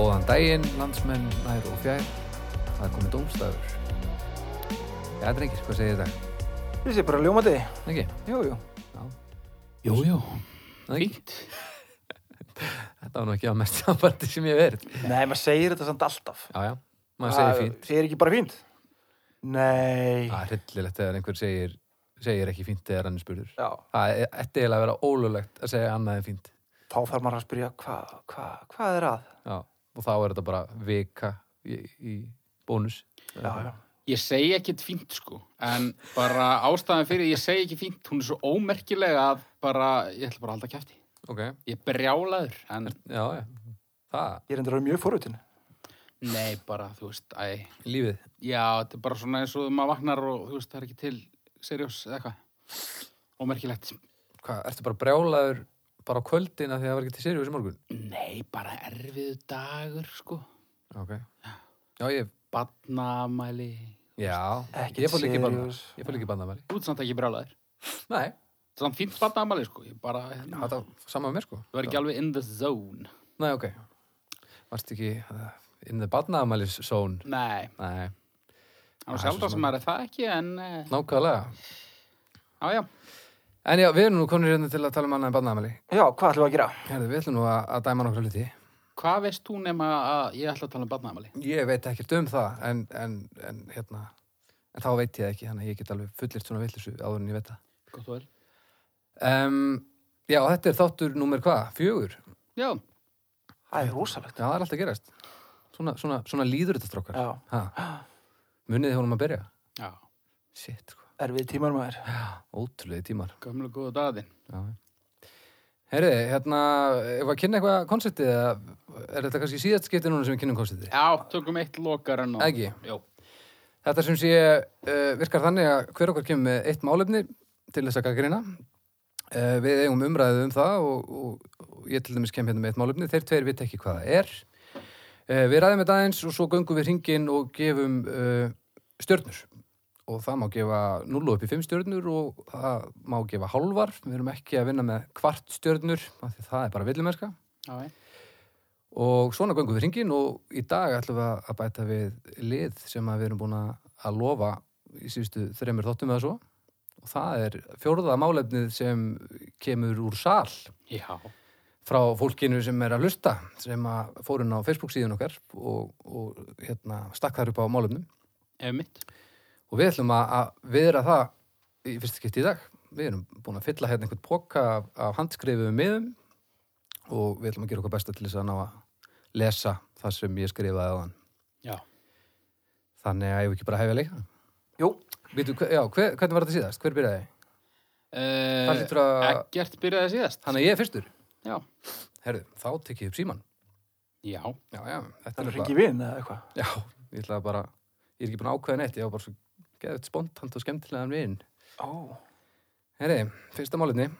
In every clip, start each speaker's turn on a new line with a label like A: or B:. A: daginn, landsmenn nær og fjær Það er komið dómstafur Já, drengir, hvað segir þetta?
B: Ég sé bara ljómandi.
A: Ekki?
B: Jú, jú.
A: Jú, jú Fínt Þetta var nú ekki að mest samfandi sem ég hef verið
B: Nei, maður segir þetta samt alltaf.
A: Já, já, maður segir fínt
B: Segir ekki bara fínt. Nei.
A: Það er hryllilegt þegar einhver segir, segir ekki fínt þegar hann er spurður
B: Já.
A: Það er þetta eiginlega að vera ólulegt að segja annað en fínt
B: Þá þarf maður að spyrja hvað hva, hva er að.
A: Já, og þá er þetta bara vika í, í bónus
B: Já, já.
C: Ég segi ekkit fínt sko, en bara ástæðan fyrir ég segi ekki fínt, hún er svo ómerkilega að bara, ég ætla bara að halda kæfti.
A: Ok,
C: Ég er brjálaður, en
A: já, já Það,
B: Ég er endur að vera mjög fórutin.
C: nei bara, þú veist, æ,
A: lífið
C: já, þetta er bara svona eins og maður vaknar og þú veist, það er ekki til seriós eða eitthvað. Ómerkilegt.
A: hvað, ertu bara brjálaður bara á kvöldin að því að það var ekki til Sirius í morgun?
C: Nei, bara erfiðu dagur sko,
A: Ok. Já, ég,
C: badnamæli,
A: já,
B: Ekkert
A: ég fór líka í banna,
B: Sirius.
A: ég fór líka í bannamæli.
C: þú ert samt ekki brjálaður.
A: Nei,
C: Það er samt fínt badnamæli sko, ég bara, hérna,
A: þetta sama með mér sko.
C: þú er ekki alveg in the zone.
A: Nei, ok. Varst ekki uh, in the bannaðamælis zone?
C: Nei,
A: Nei,
C: það er
A: Það er svo
C: sjálf það sem
A: sem-
C: maður er það ekki, en, eh,
A: nákvæmlega.
C: já, já.
A: En já, við erum nú konir hérna til að tala um annað en bannaðamæli.
B: Já, hvað ætlum við að gera?
A: Herðu, við ætlum nú að, að dæma nokkra hluti.
C: Hvað veist þú nema að ég ætla að tala um barnaðamæli?
A: Ég veit ekkert um það, en, en, en hérna, en þá veit ég það ekki, þannig að ég get alveg fullirt svona villisu áður en ég veit það.
C: Gott og vel.
A: Um, já, þetta er þáttur númer hvað? Fjögur?
C: Já,
B: Það er rosalegt.
A: Já, það er alltaf að gerast. Svona, svona, svona líður þetta strókar.
B: Já.
A: Ha. Munið þið honum að byrja?
C: já.
A: Sitt, sko.
B: Erfið tímar maður.
A: Ótrúlega tímar.
C: Gömlu góðu dagatinn.
A: Já. Herriði, hérna, ef að kynna eitthvað konseptið, eða er þetta kannski síðast skiptið núna sem við kynnum konseptið?
C: Já, tökum eitt lokar en
A: Ekki?
C: Jó.
A: Þetta sem sé uh, virkar þannig að hver okkar kemur með eitt málefni til þess að gaggrina. Uh, við eigum umræðið um það og, og, og ég til dæmis kem hérna með eitt málefni. Þeir tveir vita ekki hvað það er. Uh, við ræðum þetta aðeins og svo göngum við hringin og gefum uh, stjörnur. Og það má gefa 0 upp í 5 stjörnur og það má gefa hálfar. Við erum ekki að vinna með kvart stjörnur, af því það er bara villumerska.
C: Já, já.
A: Og svona göngum við hringin og í dag ætlum við að bæta við lið sem að við erum búin að- að lofa í síðustu þreymur þóttum eða svo. Og það er fjórða málefnið sem kemur úr sal
C: Já.
A: frá fólkinu sem er að hlusta, sem að fórun á Facebook síðan okkar og, og hérna, stakk þar upp á málefnum.
C: Ef mitt.
A: Og við ætlum að, að viðra það í fyrsta skipti í dag. Við erum búin að fylla hérna einhvern póka af, af handskrifuðum miðum og við ætlum að gera okkar besta til þess að ná að lesa það sem ég skrifaði á hann.
C: Já.
A: Þannig að ég vil ekki bara hefja leikana.
B: Jú,
A: Vítu, já, hver, hvernig var þetta síðast? Hver byrjaði? Það
C: Uh,
A: hlýtur að...
C: Ekkert byrjaði síðast.
A: Þannig að ég er fyrstur.
C: Já.
A: Herðu, þá tek ég upp síman.
C: Já.
A: Já, já, þetta
B: það
A: er
B: er hringi vinn eða eitthvað.
A: Já, ég ætlaði bara... Ég er ekki búin að ákveða neitt. Ég var bara svo geðið spontant og skemmtilegan vin.
B: Ó,
A: Herðu, fyrsta málefni.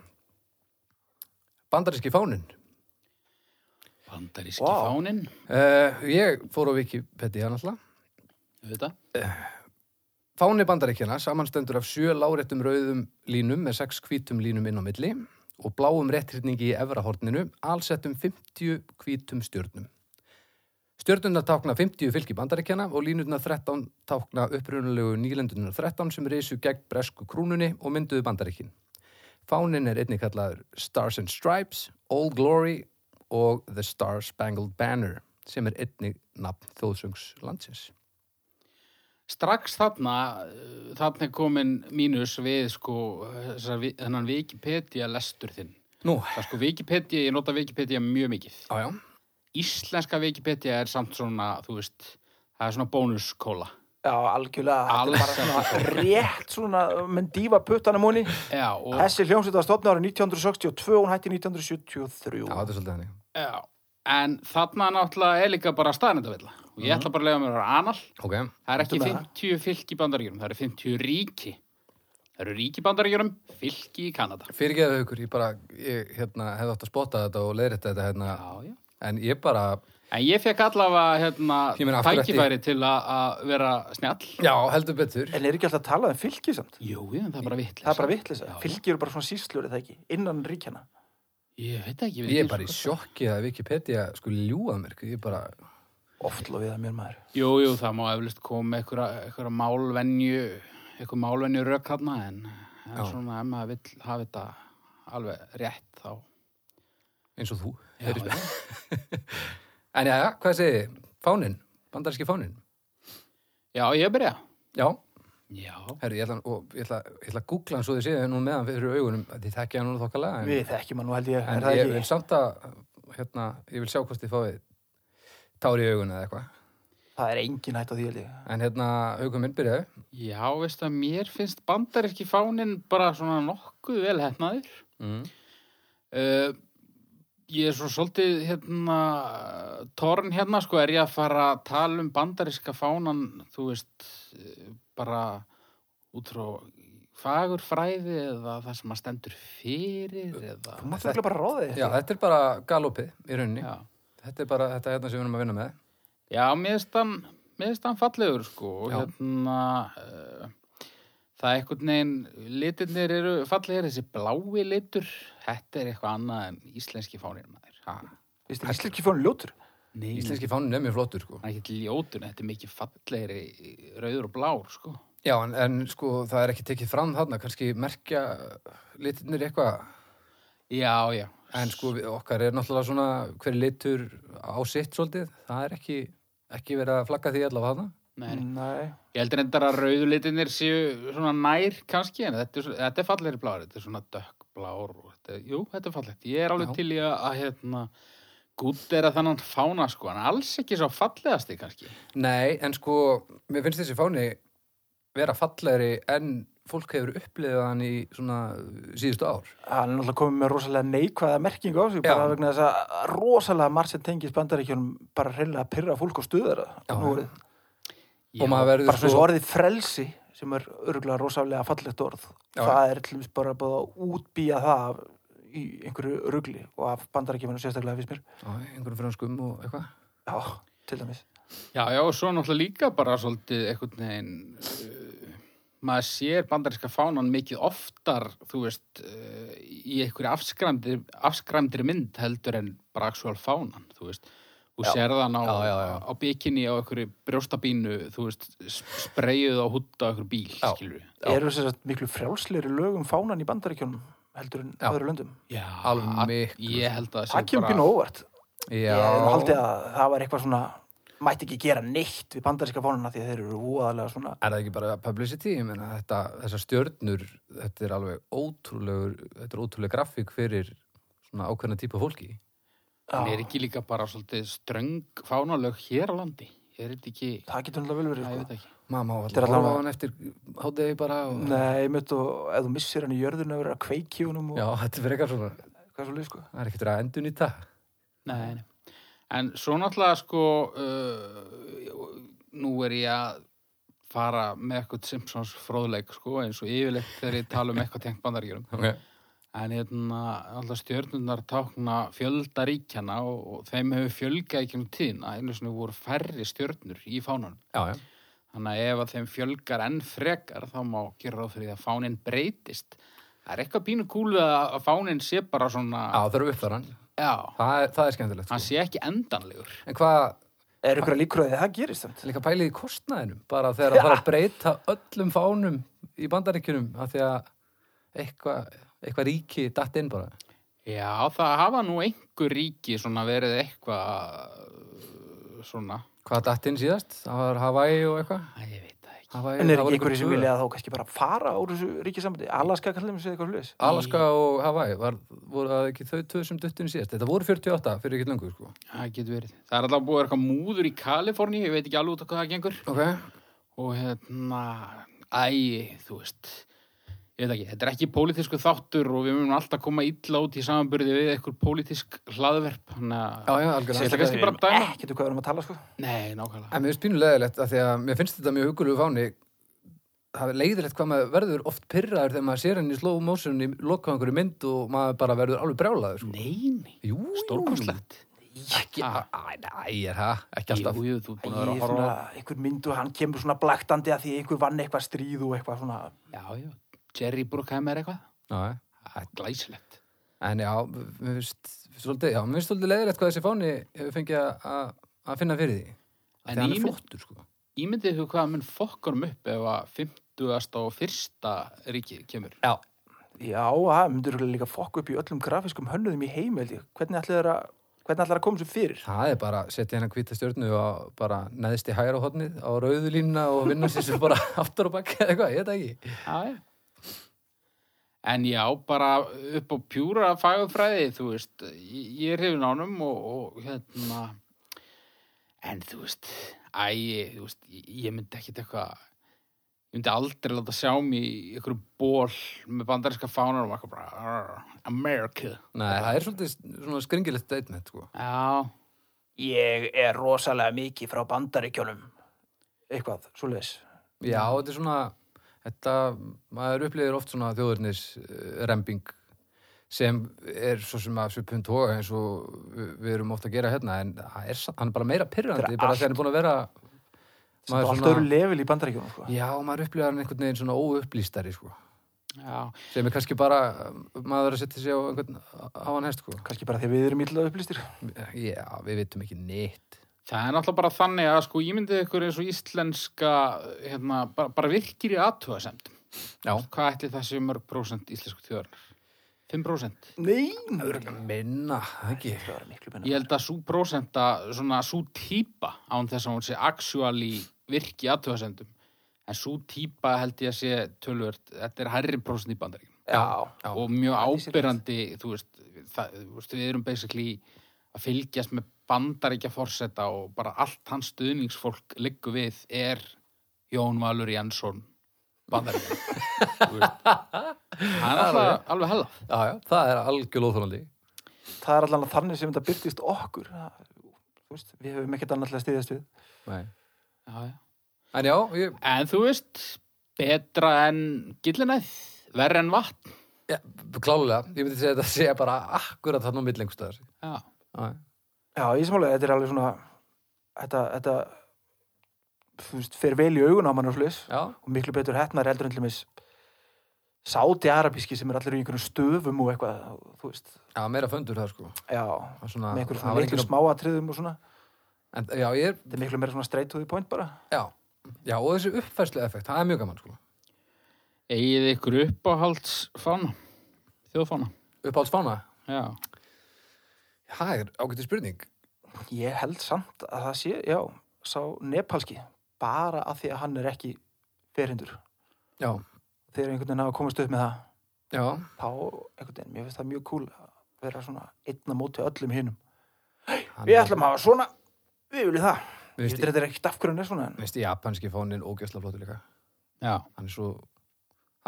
A: Bandaríski fáninn.
C: Bandaríski
B: Vá.
C: fáninn.
A: Uh, ég fór á Wikipedia náttúrulega.
C: Þetta.
A: Fáni bandaríkjana samanstendur af sjö láréttum rauðum línum með sex hvítum línum inn á milli og bláum rétthyrningi í efrahorninu, alsett um 50 hvítum stjörnum. Stjörnurnar tákna 50 fylgi bandaríkjana og línurnar 13 tákna upprunalegu nýlendurnar 13 sem reysu gegn bresku krúnunni og mynduðu bandaríkin. Fánin er einnig kallaður Stars and Stripes, Old Glory og The Star Spangled Banner sem er einnig nafn þjóðsöngs landsins.
C: Strax þarna, uh, þarna er komin mínus við sko, þessar vi- þennan Wikipedia lestur þinn.
A: Nú,
C: Það er sko Wikipedia, ég nota Wikipedia mjög mikið.
A: ájá.
C: Íslenska Wikipedia er samt svona, þú veist, það er svona bónuskóla.
B: já, algjörlega. Þetta er
C: Alls
B: bara svona rétt svona með dífa puttanum honi.
C: Já, og...
B: Þessi hljómsveit var stofna árið 1962 og hún hætti 1973.
A: Já, þetta er svolítið þannig.
C: Já, en þarna náttúrulega er líka bara staðnendavilla og ég ætla bara að lega mér að vera anal
A: Ok,
C: það er ekki
B: Ertu með
C: 50 fylki í bandaríkjurum, það eru 50 ríki það eru ríki í bandaríkjurum, fylki í Kanada
A: fyrirgeðu haukur, ég bara, ég hérna, hefði átt að spotta þetta og leiðrætt þetta hérna,
C: Já, já
A: en ég bara,
C: En ég fekk allavega hérna,
A: Ég meina, af hverju ætti-
C: tækifæri til að- að vera snjall.
A: já, heldur betur.
B: En er ekki alltaf að tala um fylki samt?
C: Jú, jú, en það er bara vitlega.
B: Það er bara vittlisa.
C: Já, já.
B: Fylki eru bara svona síslur, er það ekki? Innan ríkjana.
C: Ég veit ekki. sko.
A: sko Ég er bara í sjokki að Wikipedia skulle ljúað mér, ég bara,
B: Oft lofið að mér maður.
C: Jú, jú, það má eflust koma eitthvað, eitthvað málvenju, eitthvað málvenju rök þarna en, en
A: Já.
C: svona ef maður vill hafa þetta alveg rétt þá.
A: eins og þú.
C: Já,
A: heyrist mér.
C: já.
A: En já, já, hvað segið þið? Fánin, bandaríski fánin.
C: já, ég byrja.
A: Já,
C: Já.
A: herri, ég ætla, og, ég ætla, ég ætla að googla hann svo þið séð nú meðan fyrir augunum, þið þekkja hann núna þokkala. En,
B: Við þekkjum hann nú held ég, er
A: en
B: það
A: ég vil
B: ekki?
A: samt að, hérna, ég vil sjá hvort þið fáið tári í augun eða eitthvað.
B: Það er engin hætt á því held ég.
A: En hérna, hugum minn byrjaði.
C: Já, veist að mér finnst bandaríski fáninn bara svona nokkuð vel hefnaður.
A: Mm.
C: Uh, ég er svo svolítið hérna, torn hérna, sko, er ég að fara að tala um bandaríska fánan, þú veist, eh, bara út frá fagurfræði eða það sem að stendur fyrir eða...
B: Þú máttu ekki bara ráði
A: Já,
B: þetta.
A: þetta er bara galopið í rauninni.
C: Já,
A: Þetta er bara þetta hérna sem við erum að vinna með.
C: Já mér finnst hann, mér finnst hann fallegur, sko, og
A: Já.
C: hérna... Uh, Það er einhvern veginn, litirnir eru fallegir, þessi blái litur, þetta er eitthvað annað en íslenski fánir maður. Ha.
B: Vist ekki slikki fónu ljótur?
C: Nei, nei.
A: Íslenski fánin er mjög flottur, sko.
C: Það er ekki ljótun, þetta er mikið fallegri rauður og blár, sko.
A: Já, en, en sko, það er ekki tekið fram þarna, kannski merkja litinir eitthvað.
C: Já, já.
A: En sko, við- okkar er náttúrulega svona hver litur á sitt svolítið. Það er ekki, ekki verið að flagga því allavega þarna.
C: Nei.
B: Nei.
C: Ég heldur endar að rauðulitinir séu svona nær kannski, en þetta er, svo- þetta er fallegri blár, þetta er svona dökkblár. og Þetta, jú, þetta er fallegt. Ég er alveg
A: Já.
C: til í að, að hérna, gútt er að þannan fána, sko, en alls ekki svo fallegasti kannski.
A: Nei, en sko, mér finnst þessi fáni vera fallegri en fólk hefur upplifað hann í svona síðustu ár.
B: Hann er náttúrulega komið með rosalega neikvæða merkingu á sig,
A: Já.
B: bara vegna þess að rosalega margt sem tengist bandaríkjunum bara reynilega að pyrra fólk og stuðara.
A: Já. Sko-
B: Nú er
A: Og maður verður
B: bara svona orðið frelsi sem er örgulega rosalega fallegt orð
A: Já.
B: það er til dæmis bara búið að útbýja það af, í einhverju rugli og af bandarækjuminu sérstaklega fyrst mér
A: á einhverjum franskum og eitthvað.
B: já, til dæmis
C: Já, já, og svo náttúrulega líka bara svolítið einhvern veginn uh, maður sér bandaríska fánan mikið oftar, þú veist uh, í einhverju afskræmdri, afskræmdri mynd heldur en bara actual fánan, þú veist þú
B: Já.
C: sér þann á,
A: Já, já, já.
C: á bikini á einhverju brjóstabínu, þú veist spreyjuð á hútt á einhverju bíl,
A: Já.
C: skilur við
B: eru þess að miklu frjálsleiri lögum fánan í bandarækjunum heldur en
A: Já.
B: öðru löndum
C: Já,
A: Alveg
C: að-
A: miklu.
C: Ég held að
B: það kemur pínu á óvart
A: Já,
B: ég haldi að það var eitthvað svona mætti ekki gera neitt við bandaríska fánana því að þeir eru óaðalega svona
A: Er það ekki bara publicity? Ég meina, þetta, þessar stjörnur, þetta er alveg ótrúlegur, þetta er ótrúleg grafík fyrir svona ákveðna típa fólki.
C: En
B: Já,
C: er ekki líka bara svolítið ströng fánalög hér á landi? Er þetta ekki,
B: það getur náttúrulega vel
C: Æ, ég
B: verið
C: veit
B: sko.
C: ekki
A: Mamma
B: Þetta
A: var
B: er
A: alveg á
B: allavega-
A: hann eftir hádegi bara og...
B: Nei, mitt og ef þú missir hann í jörðinu að vera að kveiki honum og
A: Já, þetta er fyrir eitthvað svona,
B: hvað svo sko.
A: það er ekkert að endun í það.
C: Nei, nei. En svo náttúrulega sko, uh, nú er ég að fara með eitthvað Simpsons fróðleik sko, eins og yfirleitt þegar ég tala um eitthvað tengt bandaríkjörum.
A: Okay.
C: En hérna, alltaf stjörnundar tákna fjölda ríkjana og, og þeim hefur fjölgað ekki um tíðina, einu sinni voru færri stjörnur í fánanum.
A: Já, já.
C: Þannig að ef að þeim fjölgar enn frekar þá má gera ráð fyrir því að fáninn breytist. Það er eitthvað pínu kúlu að að fáninn sé bara svona,
A: Já, það eru uppfæran.
C: já,
A: Það er, það er skemmtilegt.
C: hann
A: Sko.
C: sé ekki endanlegur.
A: En hvað,
B: Er ykkur að líkur að það gerist samt?
A: líka pælið í kostnaðinum, bara þegar það er að breyta öllum fánum í bandaríkjunum af því að eitthvað eitthva ríki datt inn bara.
C: Já, það hafa nú einhver ríki svona verið eitthvað uh, svona.
A: Hvað datt inn síðast? Það var Hawaii og eitthvað?
C: Æ, ég veit það ekki.
A: Hawaii,
B: En er
A: það voru
B: ekki einhverju sem
A: tvö.
B: vilja þá kannski bara fara úr þessu ríkisamöndi? Alaska kallar mér sér eitthvað hlutis.
A: Alaska og Hawaii var, voru það ekki þau tvö sem duttinu síðast þetta voru 48 fyrir ekki lengur sko.
C: Það getur verið. Það er alltaf búið eitthvað múður í Kaliforni, ég veit ekki alveg út á hvað það gengur.
A: ok,
C: Og hérna, æ, þú veist, ég veit ekki, þetta er ekki pólitísku þáttur og við munum alltaf koma illa út í samanburði við eitthvað pólitísk hlaðverp. Þannig
A: já
C: að,
A: já, algjörlega
C: Sérstaklega- kannski bara dæma.
B: Ekki þú hvað við erum að tala sko.
C: nei, nákvæmlega.
A: en mér finnst pínulegilegt að því að mér finnst þetta mjög hugulegu fáni það er leiðilegt hvað maður verður oft pyrraður þegar maður sér henni í slow motion í loka á einhverju mynd og maður bara verður alveg brjálaður sko.
C: Nei, nei,
A: jú, jú.
C: stórkostlegt.
A: ekki,
C: Ah.
A: æ, næ, er það, ekki alltaf
C: Jú, jú, þú er búin að vera að horfa á
B: Svona, einhver mynd og hann kemur svona blaktandi að því einhver vann eitthvað stríð og eitthvað svona.
C: Já, já, Jerry Bruckheimer eitthvað.
A: já,
C: Það er glæsilegt.
A: en já, mér finnst svolítið, já, mér finnst svolítið leiðilegt hvað þessi fáni hefur fengið að- að að finna fyrir því En
C: En
A: hann er
C: ímynd-
A: flottur, sko.
C: Ímyndið ykkur hvað mun fokkarum upp ef að 50. og fyrsta ríki kemur.
A: Já.
B: Já, það myndur líka fokk upp í öllum grafiskum hönnuðum í heim, held ég. Hvernig ætlaði þeir að, hvernig ætlaði að koma sér fyrir?
A: Það er bara að setja hennar hvita stjörnu og bara neðst í hægra hodnið á rauðu línuna og vinna sér sem bara aftur og bakka eða eitthvað, ég veit það ekki.
C: Já, já. En já, bara upp á pjúra fagufræði, þú veist, ég ég er hefur nánum og, og hérna, en þú veist, æ, ég- þú veist, ég, ég myndi ekkit eitthvað, ég myndi aldrei láta sjá mig í einhverju ból með bandarinska fánar og eitthvað bara, "Arr, America.
A: Nei, það er svolítið svona skringilegt statement, sko.
C: Já,
B: Ég er rosalega mikið frá bandaríkjónum. Eitthvað, svo leis.
A: Já, þetta er svona, þetta, maður upplýðir oft svona þjóðurnis eh, rembing sem er svo sem að svipun toga eins og við við erum ofta að gera hérna en það er, sa- hann er bara meira
B: Þetta
A: pyrrandi
B: er
A: bara
B: allt-
A: þegar hann er búin að vera
B: Það er allt öðru level í bandaríkjónum, sko.
A: Já, maður upplýðar hann einhvern veginn svona óupplýstari sko.
C: já,
A: sem er kannski bara maður er að setja sig á einhvern á hann hest sko.
B: Kanski bara þegar við erum illa upplýstir.
A: Já, við vitum ekki neitt
C: Það er náttúrulega bara þannig að sko ímyndið ykkur eins og íslenska hérna, bara, bara virkir í aðtöðasemt.
A: Já,
C: Hvað ætli það séu mörg prósent íslensku þjóðarnar? 5 prósent?
B: Nei,
A: minna, það ekki
B: Það er miklu minna.
C: Ég held að svo prósenta, svona svo típa án þess að hún sé actually virki í aðtöðasendum. En svo típa held ég að sé tölvört, þetta er hærri prósent í bandaríkjum.
B: Já,
A: Já.
C: Og mjög
B: Það lýsir
C: ábyrrandi, þú veist, það, þú veist, við erum basically að fylgjast með bandaríkja forseta og bara allt hans stuðningsfólk liggur við er Jón Valur Jansson bandaríkja. það er alltaf alveg hella.
A: Já, já, það er algjör óþólandi
B: það er allan þannig sem þetta byrtist okkur. Það- Þú veist, við hefum ekkert annað til að stiðast við.
A: En
C: Já, já.
A: já, ég,
C: En þú veist, betra en gillinæð, verra en vatn.
A: ja, klálega ég myndi segja þetta sé bara akkurat þannig á milli einhverstaðar
C: Já,
A: Já,
B: Já, ég samanlega, þetta er alveg svona, þetta, þetta, þú veist, fer vel í augun á mann og slis.
A: já,
B: og miklu betur hettnar eldur en til mis sáti arabíski sem er allir í einhverjum stöfum og eitthvað, þú veist
A: já meira föndur það sko
B: já,
A: Það er svona,
B: með einhverjum
A: það
B: svona
A: var
B: miklu
A: einhverjum-
B: smáatriðum og svona
A: en, Já, ég er,
B: þetta er miklu meira svona straight to the point bara
A: já Já, og þessi uppfærslu effekt, það er mjög gaman sko
C: eigið ykkur uppáhaldsfána, þjóðfána.
A: Uppáhalds fána,
C: Já,
A: það er ágættu spurning
B: ég held samt að það sé, já sá nepalski, bara af því að hann er ekki fyrirhindur
A: Já,
B: þegar einhvern veginn hafa komast upp með það
A: já,
B: þá einhvern veginn, mér finnst það mjög cool að vera svona einn að móti öllum hinum
A: hann
B: við
A: er-
B: ætlum að hafa svona, við viljum það
A: Mér
B: ég
A: finnst
B: veit þetta er ekkert af hverjum er svona en
A: mér finnst japanski fánin ógjöfslega flottur líka
C: já,
A: hann er svo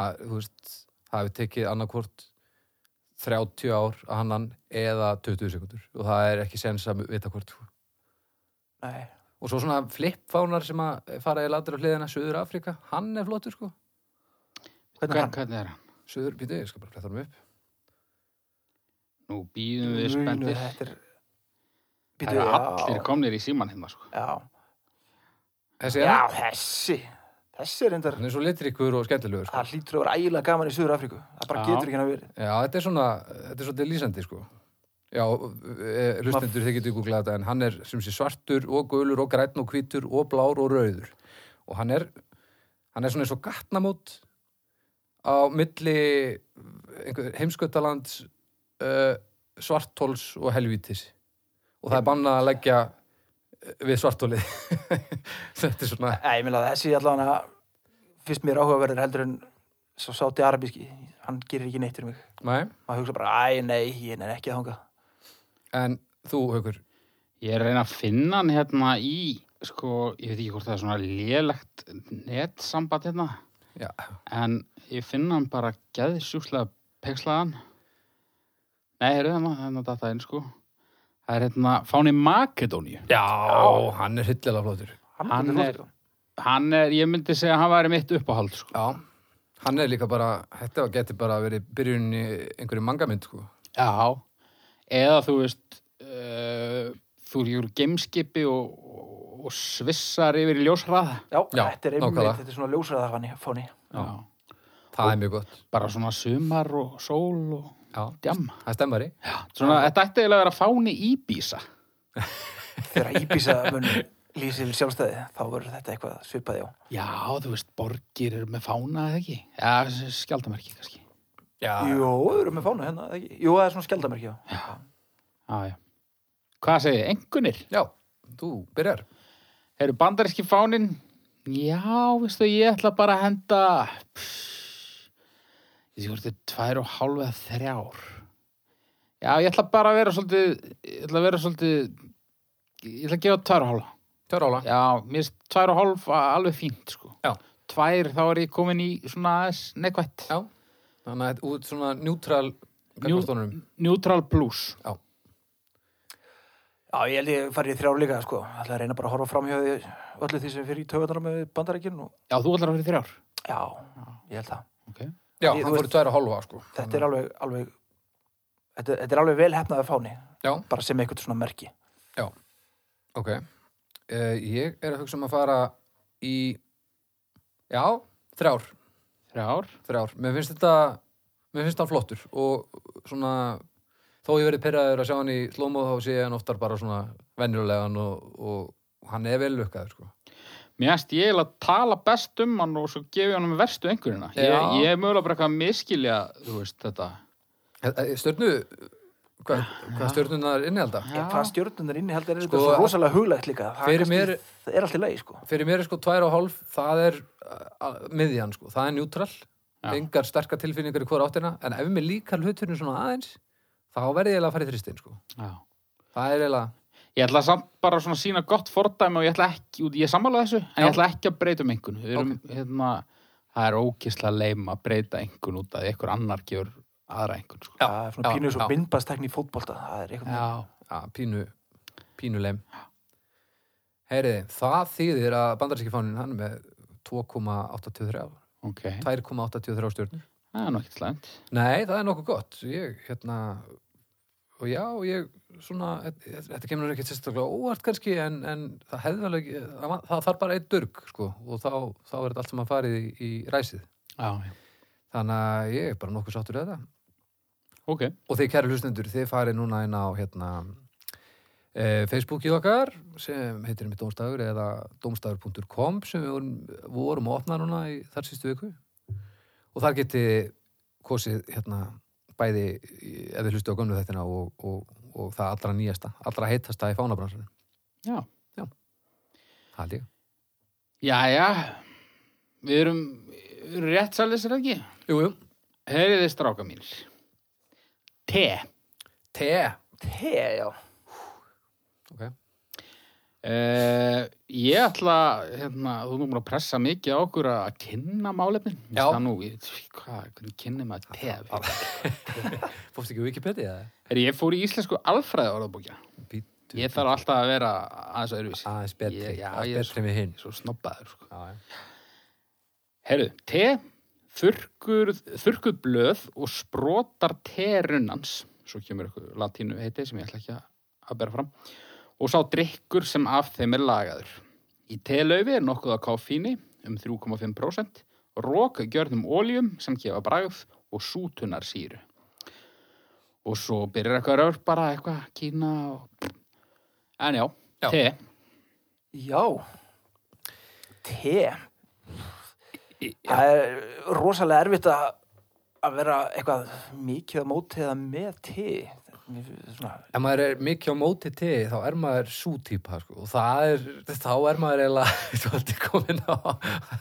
A: að, þú veist, það hefur tekið annarkvort 30 ár að hann hann eða 20 sekundur og það er ekki sens að vita hvort sko.
B: nei,
A: og svo svona flippfánar sem að fara í latur á hliðina Suður Afrika, hann er flottur sko
B: hvernig er hann?
C: hvernig er hann?
A: Suður, býtu, ég skal bara fletta hann upp
C: Nú býðum við
B: Munu,
C: spendir.
B: þetta er
C: Það eru allir komnir í síman hérna, sko.
B: Já,
A: þessi er
B: já
A: hann,
B: þessi Þessi er endar
A: hann er svo litrikur og skemmtilegur sko.
B: Það hlýtur að vera ægilega gaman í Suður Afríku Það bara
C: Já.
B: getur ekki hann að vera
A: já, þetta er svona, þetta er svolítið lýsandi sko Já, eh, hlustendur þið getur googlað þetta en hann er sem sé svartur og gulur og grænn og hvítur og blár og rauður og hann er hann er svona eins og gatnamót á milli einhver, heimskautalands uh, svartóls og helvítis og það er bannað að leggja eh, við svartólið þetta er svona
B: Æ, ég meina þessi allan að Fyrst mér áhugaverður heldur en Svo sáti arabíski Hann gerir ekki neitt fyrir mig
A: nei,
B: Maður hugsa bara, æ, nei, ég er ekki að þanga
A: en þú haukur
C: Ég er að reyna að finna hann hérna í, sko, ég veit ekki hvort það er svona lélegt netsamband hérna.
A: já,
C: En ég finna hann bara geðsjúkslega pekslaðan. Nei, heyrðu það maður, það er náttúrulega þetta inn, sko. Það er hérna fáni Makedóníu.
A: hann er hillilega flótur
C: Hann
B: getur
C: er-
B: flottur.
C: Hann er, ég myndi segja að hann væri mitt uppáhald, sko.
A: já, hann er líka bara þetta getur bara verið byrjun í einhverju mangamynd sko.
C: Já. Eða þú veist, uh, þú eru geimskipi og, og svissar yfir í ljósrað.
B: Já,
A: Já,
B: þetta er einmitt,
A: nákvæmlega.
B: þetta er svona ljósræða fanni fóni.
C: Já.
A: það er mjög gott
C: Bara svona sumar og sól og
A: já,
C: djamma.
A: það stemmari
C: Svona, þetta ætti eiginlega að vera fáni Íbísa.
B: Þegar Íbísa mun lýsir sjálfstæði, þá verður þetta eitthvað svipaði á.
C: Já, þú veist, borgir eru með fána eða ekki. Já, skjaldamerki kannski.
A: Já,
B: Jó, við erum með fána hérna, eða ekki? Jú, það er svona skjaldamerki, já. Já.
C: Já, já. Hvað segið, engunir?
A: já, þú byrjar.
C: Eru bandaríski fánin? Já, veistu, ég ætla bara að henda... Pff, ég sé hvort þetta er tvær og hálfa eða þrjár. Já, ég ætla bara að vera svolítið... Ég ætla að vera svolítið... Ég ætla að gefa tvær og hálfa.
A: Törála.
C: Já, mér finnst tvær og hálf alveg fínt, sko.
A: Já.
C: Tvær, þá er ég komin í svona aðeins neikvætt.
A: Já. Þannig að þetta út svona njútral
C: Njú-
A: gagnastónunum.
C: Neutral plus.
B: já, ég held ég farið í þrjár líka, sko. Það ætla að reyna bara að horfa fram hjá því öllu því sem fyrir í taugarnar með bandarækjun og
C: Já, þú ætlar að vera í þrjár.
B: já, ég held það.
C: Ok.
A: Já,
B: Ég-
A: hann
B: þú
A: fór í tvær og hálfa, sko.
B: Þetta er alveg, alveg, þetta, þetta er alveg vel hefnaði fáni,
A: Já,
B: bara sem eitthvað svona merki.
A: ok. Uh, ég er að hugsa um að fara í, já, þrjár,
C: Þrjár.
A: þrjár. Mér finnst þetta, mér finnst hann flottur og svona, þó ég verið perraður að sjá hann í slómóð þá sé ég hann oftar bara svona venjulegan og, og hann er vel lukkaður, sko.
C: Mér finnst ég eiginlega að tala best um hann og svo gefi hann um verstu einhverjuna. Ég,
A: Já.
C: ég er mögulega bara eitthvað að miskilja, þú veist, þetta.
A: E, Stjörnu, hvað, hvað stjörnunar innihalda?
C: Já.
B: Hvað stjórnunar inni heldur er
A: Sko,
B: þetta svo rosalega huglegt líka. Það
A: fyrir
B: er kannski-
A: mér-
B: Það er allt í lagi, sko.
A: Fyrir mér er sko tvær og hálf, það er uh, miðjan sko, það er njútrál,
C: Já.
A: engar sterkar tilfinningar í hvora áttina, en ef mér líkar hluturinn svona aðeins, þá verði ég eiginlega að fara í þristinn sko.
C: Já.
A: Það er eiginlega,
C: Ég ætla samt bara svona að sína gott fordæmi og ég ætla ekki, út- ég sammála þessu,
A: Já.
C: en ég ætla ekki að breyta um einhvern. Við erum, hérna, það er ókislega leim að breyta einhvern út að einhver annar gefur aðra einhvern, sko.
A: Já,
B: Það er svona
A: já,
B: pínu svo
A: já.
B: bindbastekni í fótbolta. Það er eitthvað.
C: Já.
A: ja, pínu, pínuleim. Heyriði, það þýðir að bandarinski fánin hann er með 2,83,
C: Ok.
A: 2,83 stjörnur.
C: Það er nú ekkert slæmt.
A: Nei, það er nokkuð gott. Ég, hérna, og já, ég, svona, e, þetta kemur ekki sérstaklega óvart kannski, en, en það hefði alveg, það va- það þarf bara einn durg, sko, og þá, þá er þetta allt saman farið í, í ræsið.
C: Já, já.
A: Þannig að ég er bara nokkuð sáttur við þetta.
C: Ok.
A: Og þið, kæri hlustendur, þið farið núna inn á, hérna, e, Facebookið okkar, sem heitir mitt dómstafur, eða dómstafur.com, sem við vorum, vorum að opna núna í þar sístu viku. Og þar geti kosið, hérna, bæði, í- ef þið hlustu á gömlu þættina og, og, og það allra nýjasta, allra heitasta í fánabransunum.
C: Já.
A: Það held ég.
C: Jæja. Við erum, við erum rétt sælis, er það ekki?
A: Jú, jú.
C: Heyriði stráka mínir. Te.
A: Te.
B: Te, já.
A: Ok.
C: Uh, ég ætla, hérna, þú erum að pressa mikið á okkur að kynna málefnin. Mér
A: Já.
C: finnst það Nú, ég, hvað, hvernig kynni maður tef?
A: Fórst ekki á Wikipedia?
C: Er, ég fór í íslensku alfræði orðabókja.
A: Býtu.
C: Ég þarf alltaf að vera aðeins öðruvísi.
A: Aðeins betri.
C: Ég- já,
A: aðeins
C: ég er
A: betri með hinn.
C: Ég er Svo snobbaður, sko.
A: Já, já.
C: Herru, te, þurrkur, þurrkuð blöð og sprotar terunans, svo kemur eitthvað latínu heiti sem ég ætla ekki að- að bera fram, og sá drikkur sem af þeim er lagaður. Í telaufi er nokkuð að káfíni um 3,5%, rók gjörnum óljum sem gefa bragð og sútunarsýru. Og svo byrjar eitthvað rör bara eitthvað kína og... En já,
A: Já.
C: te,
B: Já. Te. Það er rosalega erfitt að að vera eitthvað mikið að móti eða með te. Mér finnst Svona,
A: ef maður er mikið á móti til þá er maður sú típa sko. og það er, þá er maður eiginlega svolítið komin á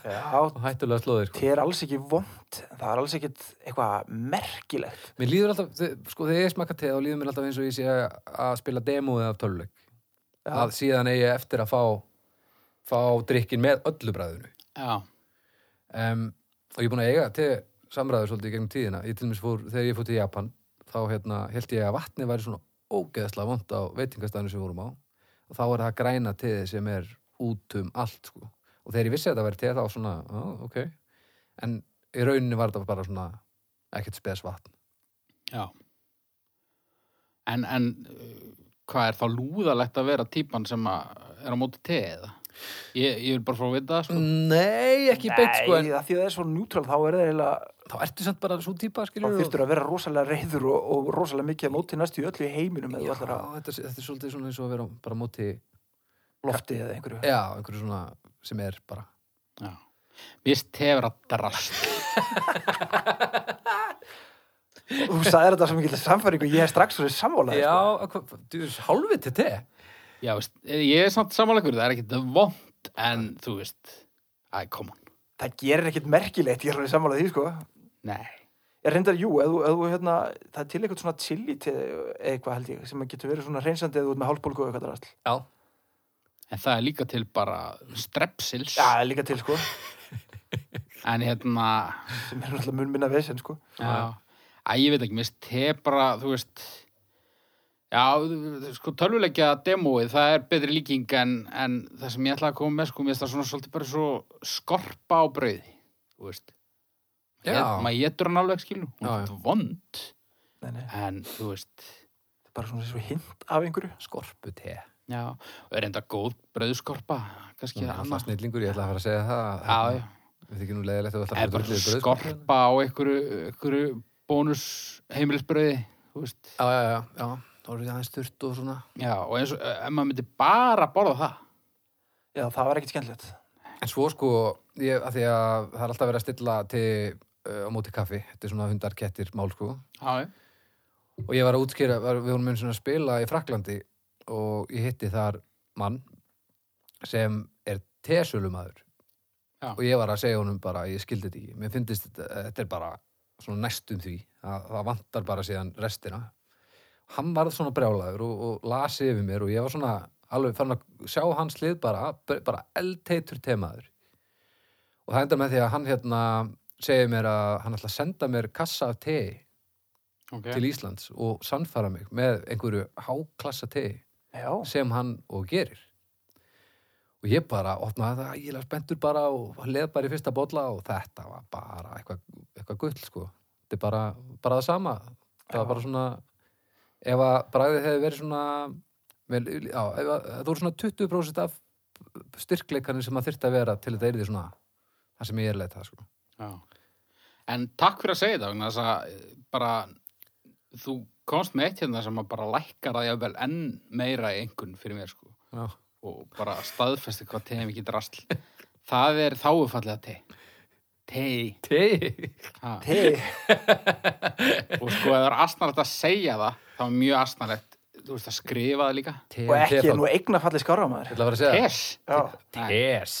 B: já,
A: hættulega slóðir sko.
B: te er alls ekki vond. Það er alls ekkit eitthvað merkilegt.
A: mér líður alltaf, þe- sko þegar ég smakka til þá líður mér alltaf eins og ég sé að að spila demóið af töluleik
B: Já,
A: að síðan eigi ég eftir að fá fá drikkin með öllu bræðinu
C: já,
A: um, og ég er búin að eiga til samræður svolítið í gegnum tíðina ég til dæmis fór, þegar ég fór til Japan þá hérna, held ég að vatni væri svona ógeðslega vond á veitingastæðinu sem við vorum á og þá er það græna teið sem er út um allt sko. og þegar ég vissi að þetta væri teið þá svona, á, ok en í rauninni var þetta bara svona ekkert spes vatn
C: Já. En, en uh, hvað er þá lúðalegt að vera típan sem að er á móti te eða? Ég, ég vil bara fá að vita það, sko.
A: Nei, ekki beitt sko en
B: Nei, af því að það er svo njútrál þá er það eiginlega,
A: þá ertu samt bara svo típa
B: þá
A: skilur
B: þurftur að vera rosalega reyður og, og rosalega mikið að móti næstu í öllu í heiminum eða
A: Já,
B: þú ætlar að
A: þetta, er- þetta er svolítið svona eins og að vera bara á móti
B: lofti eða einhverju.
A: Já, einhverju svona sem er bara
C: Já. Mér finnst te vera drast.
B: Þú sagðir þetta sem ekki samfæringu, ég er strax svo samválaði.
A: Já, sko. hálfið til te
C: Já, veist, eh, ég er samt samanlegur, það er ekkit vond, en þú veist, æ, come on.
B: Það gerir ekkit merkilegt, ég er alveg samválaði því, sko.
C: Nei.
B: Ég reyndar, jú, eða þú, eða þú, hérna, það er til eitthvað svona chili til eitthvað held ég, sem getur verið svona reynsandi eða út með hálfbólgu og eitthvað drasl.
A: Já,
C: En það er líka til bara strepsils,
B: Já, það er líka til, sko,
C: en hérna,
B: sem er náttúrulega mun minna vesen, sko.
C: já, æ, ég veit ekki, mér finnst te bara, þú veist, já, sko, tölvuleikja demóið, það er betri líking en, en það sem ég ætlaði að koma með, sko, mér finnst það svona svolítið bara svo skorpa á brauði, þú veist.
A: Já.
C: Ég- Maður getur hann alveg, skilu, hún
A: Já,
C: er
A: já.
C: vond,
B: Nei, nei,
C: en þú veist,
B: bara svona svo hint af einhverju.
A: skorpu te
C: já, og er enda góð brauðskorpa, kannski
A: Það var
C: annað.
A: snillingur, ég ætla að fara að segja það
C: Já, já.
A: Við þykir nú leiðilegt að við ætla að
C: er
A: fara
C: bara
A: drullið í brauð,
C: svona
A: sko.
C: skorpa á einhverju, einhverju bónus heimilisbröði veist.
A: Já, já, já, já Það voru aðeins þurrt og svona
C: já, og eins og ef maður myndi bara borða það
B: Já, það var ekkit skemmtilegt.
A: En svo sko, ég, að því að það er alltaf verið að stilla til uh, á móti kaffi, þetta er svona hundar kettir mál sko
C: já,
A: og ég var að útskýra, var, við vorum einu sinni að spila í Fraklandi og ég hitti þar mann sem er tesölumæður
C: Já.
A: og ég var að segja honum bara, ég skildi þetta ekki, mér finnst þetta, þetta er bara svona næstum því, það, það vantar bara síðan restina hann varð svona brjálaður og, og lasi yfir mér og ég var svona alveg fann að sjá hans lið bara, bara eldteitur temaður og það endar með því að hann hérna segir mér að hann ætla að senda mér kassa af tei
C: ok
A: til Íslands og sannfara mig með einhverju háklassa tegi
B: Já,
A: sem hann og gerir og ég bara opnaði það ég er spenntur bara og leð bara í fyrsta bolla og þetta var bara eitthvað eitthva gull sko, þetta er bara, bara það sama það var
B: Já.
A: bara svona ef að bragðið hefði verið svona vel, já, ef að, það voru svona 20% af styrkleikanir sem að þyrfti að vera til þetta er því svona það sem ég er að leita sko.
C: já. en takk fyrir að segja þetta vegna þess að eh, bara þú komst með eitt hérna sem að bara lækkar að jáfnvel enn meira í einhvern fyrir mér sko
A: já,
C: og bara staðfesti hvað tegum ekki drasl það er þáufallega te te
A: tegi
C: ha.
B: tei,
C: og sko ef það er asnarlegt að segja það þá er mjög asnarlegt þú veist að skrifa það líka
B: og ekki er nú eignafalli skára maður.
A: Ég ætla að fara að segja
C: Pes
B: Já,
C: Nei,
A: Yes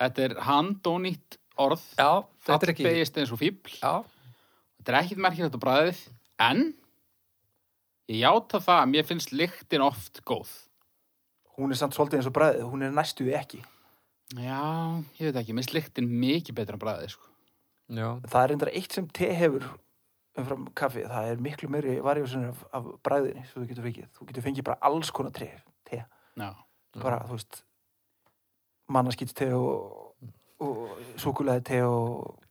C: Þetta er handónýtt orð
A: Já, þetta er ekki
C: Fallbegist eins og fíbl
A: Já,
C: Þetta er ekkit merkilegt á bræðið En Ég játa það að mér finnst lyktin oft góð
B: hún er samt svolítið eins og bræðið, hún er næstu því ekki.
C: Já, ég veit ekki, mér finnst lyktin mikið betra á bræðið sko.
A: já,
B: Það er reyndar eitt sem te hefur umfram kaffi, það er miklu meiri varjósunir af, af bræðinni sem þú getur fengið. Þú getur fengið bara alls konar te, te.
C: Já,
B: bara, þú veist mannaskýtt te og, og súkulæði te og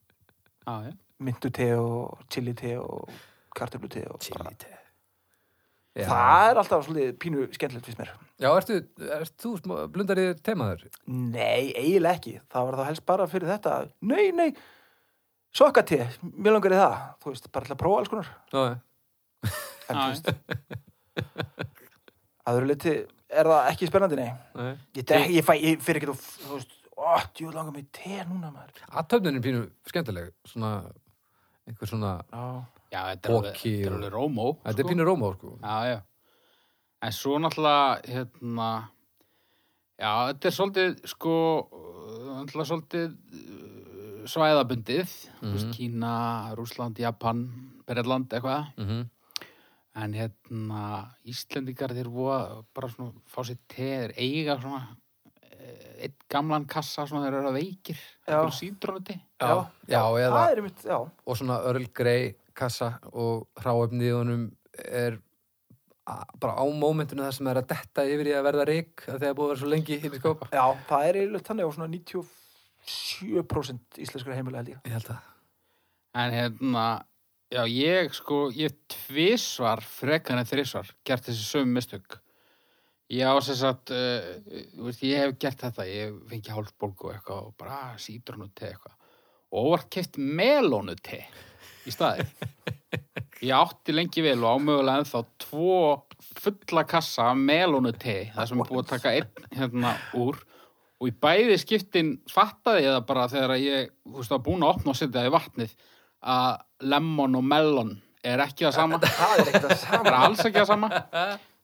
C: já, já
B: myndu te og chili te og kartöflu te og bara.
A: Chilite já.
B: það er alltaf svolítið pínu skemmtilegt fyrst mér
A: Já, ertu, ertu þú smá- blundar í temaður?
B: nei, eiginlega ekki, það var þá helst bara fyrir þetta nei, nei, sokka te mér langar í það, þú veist, bara til að prófa alls konar
A: Já,
B: en þú
C: Já,
B: veist aður liti, er það ekki spennandi, nei
A: nei
B: ég, dek, ég, fæ, ég fyrir ekki þú, þú veist, ó, djú langar mig í te núna maður
A: Aðtöfnin er pínu skemmtileg Svona, einhver svona
B: já,
C: Já, þetta er alveg,
A: Boki
C: þetta er
A: og-
C: alveg rómó
A: Þetta er pínu rómá, sko
C: Já, já. En svo náttúrulega, hérna, já, þetta er svolítið, sko, uh, náttúrulega svolítið uh, svæðabundið, þú veist,
A: Mhm.
C: Kína, Rúsland, Japan, Berland, eitthvað.
A: mm -hmm.
C: En hérna, Íslendingar þeir voða bara svona, fá sér teður, eiga svona, eh, einn gamlan kassa svona þeir eru að veikir,
B: Já.
C: einhverjum síndrónuti.
A: Já,
B: Já.
A: já, eða
B: það er mitt, já
A: Og svona Earl Grey kassa Og hráefnið í honum er a- bara á mómentinu það sem er að detta yfir í að verða reik að þegar búið að vera svo lengi inn í skópa
B: Já, það er eiginlega þannig á svona 97% íslenskra heimila held ég.
A: Ég held að
C: En hérna, já, ég sko, ég hef tvisvar frekar en þrisvar gert þessi sömu mistök. Já, sem sagt, uh, þú veist, ég hef gert þetta, ég hef fengið hálfbólgu og eitthvað og bara "Ah, sítrunu te eitthvað. Og var keft melónu te í staði. Ég átti lengi vel og ámögulega ennþá tvo fulla kassa af melónutei, það sem er búið að taka einn hérna úr og í bæði skiptin fattaði ég það bara þegar að ég, þú veist, var búin að opna og setja það í vatnið að lemon og melon er ekki það sama,
B: Það er ekkert að
C: það er
B: sama.
C: alls ekki það sama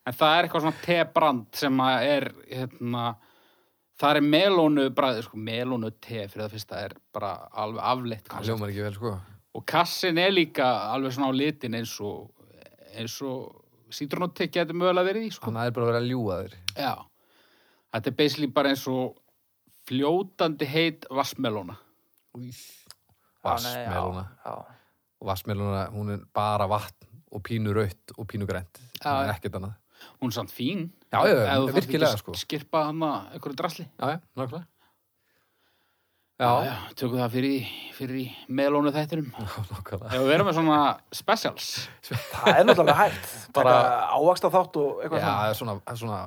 C: en það er eitthvað svona tebrand sem að er, hérna, það er melónu bræði, sko, melónutei fyrir það fyrsta er bara alveg afleitt
A: Það ljómar ekki vel, sko.
C: og kassin er líka alveg svona á litin eins og eins og sítrónutti getur mögulega verið í sko.
A: Þannig að það er bara að vera að ljúga þér.
C: Já. Þetta er basically bara eins og fljótandi heit vassmelóna.
A: Vassmelóna.
B: Já,
A: Og vassmelóna, hún er bara vatn og pínu raut og pínu grænt. Það er ekkert annað.
C: Hún er samt fín.
A: Já, já,
C: Ef þú þarft
A: virkilega,
C: ekki að
A: sko.
C: Skirpa hana einhverju drasli.
A: Já, já, nákvæmlega. Já,
C: tökum það fyrir, í- fyrir í melónu þættinum.
A: nákvæmlega.
C: Ef við erum með svona specials.
B: það er náttúrulega hægt. Bara ávaksta þátt
A: Já,
B: og eitthvað
A: það er svona, það er svona,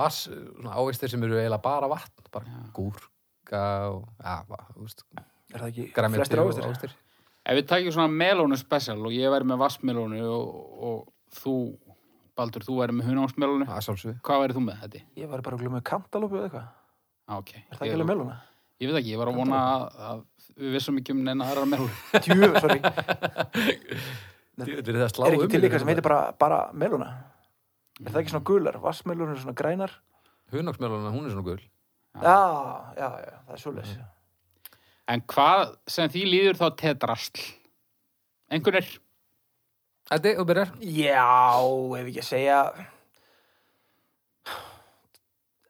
A: vass, svona ávistir sem eru eiginlega bara vatn, bara gúrka og, já, va- þú veist,
B: Er það ekki
A: græmiti
B: flestir
A: og
B: ávaksta?
A: ávextir.
C: Ef við takjum svona melónu special og ég væri með vassmelónu og, og þú, Baldur, þú væri með hunámsmelónu.
A: Það er sálsvið.
C: Hvað væri þú með þetta?
B: Ég var bara að glöma kantalópu eða eitthvað.
C: Ah, okay.
B: Er það ekki
C: ég,
B: alveg meluna?
C: ég veit ekki, ég var að vona að, að við vissum ekki um neina aðra melur.
B: Djú, sorry.
A: Þetta er það að slá
B: Er ekki
A: um
B: til
A: í
B: eitthvað sem
A: raun
B: heitir
A: og
B: bara, bara meluna? Er það ekki svona gular? Vassmelunir svona grænar?
A: veru. Hunangsmelóna, hún er svona gul.
B: Já, já, já, það er svolítið.
C: En hvað sem því líður þá tedrasl? Engunir?
A: Þetta, þú byrjar.
B: Já, ef ekki að segja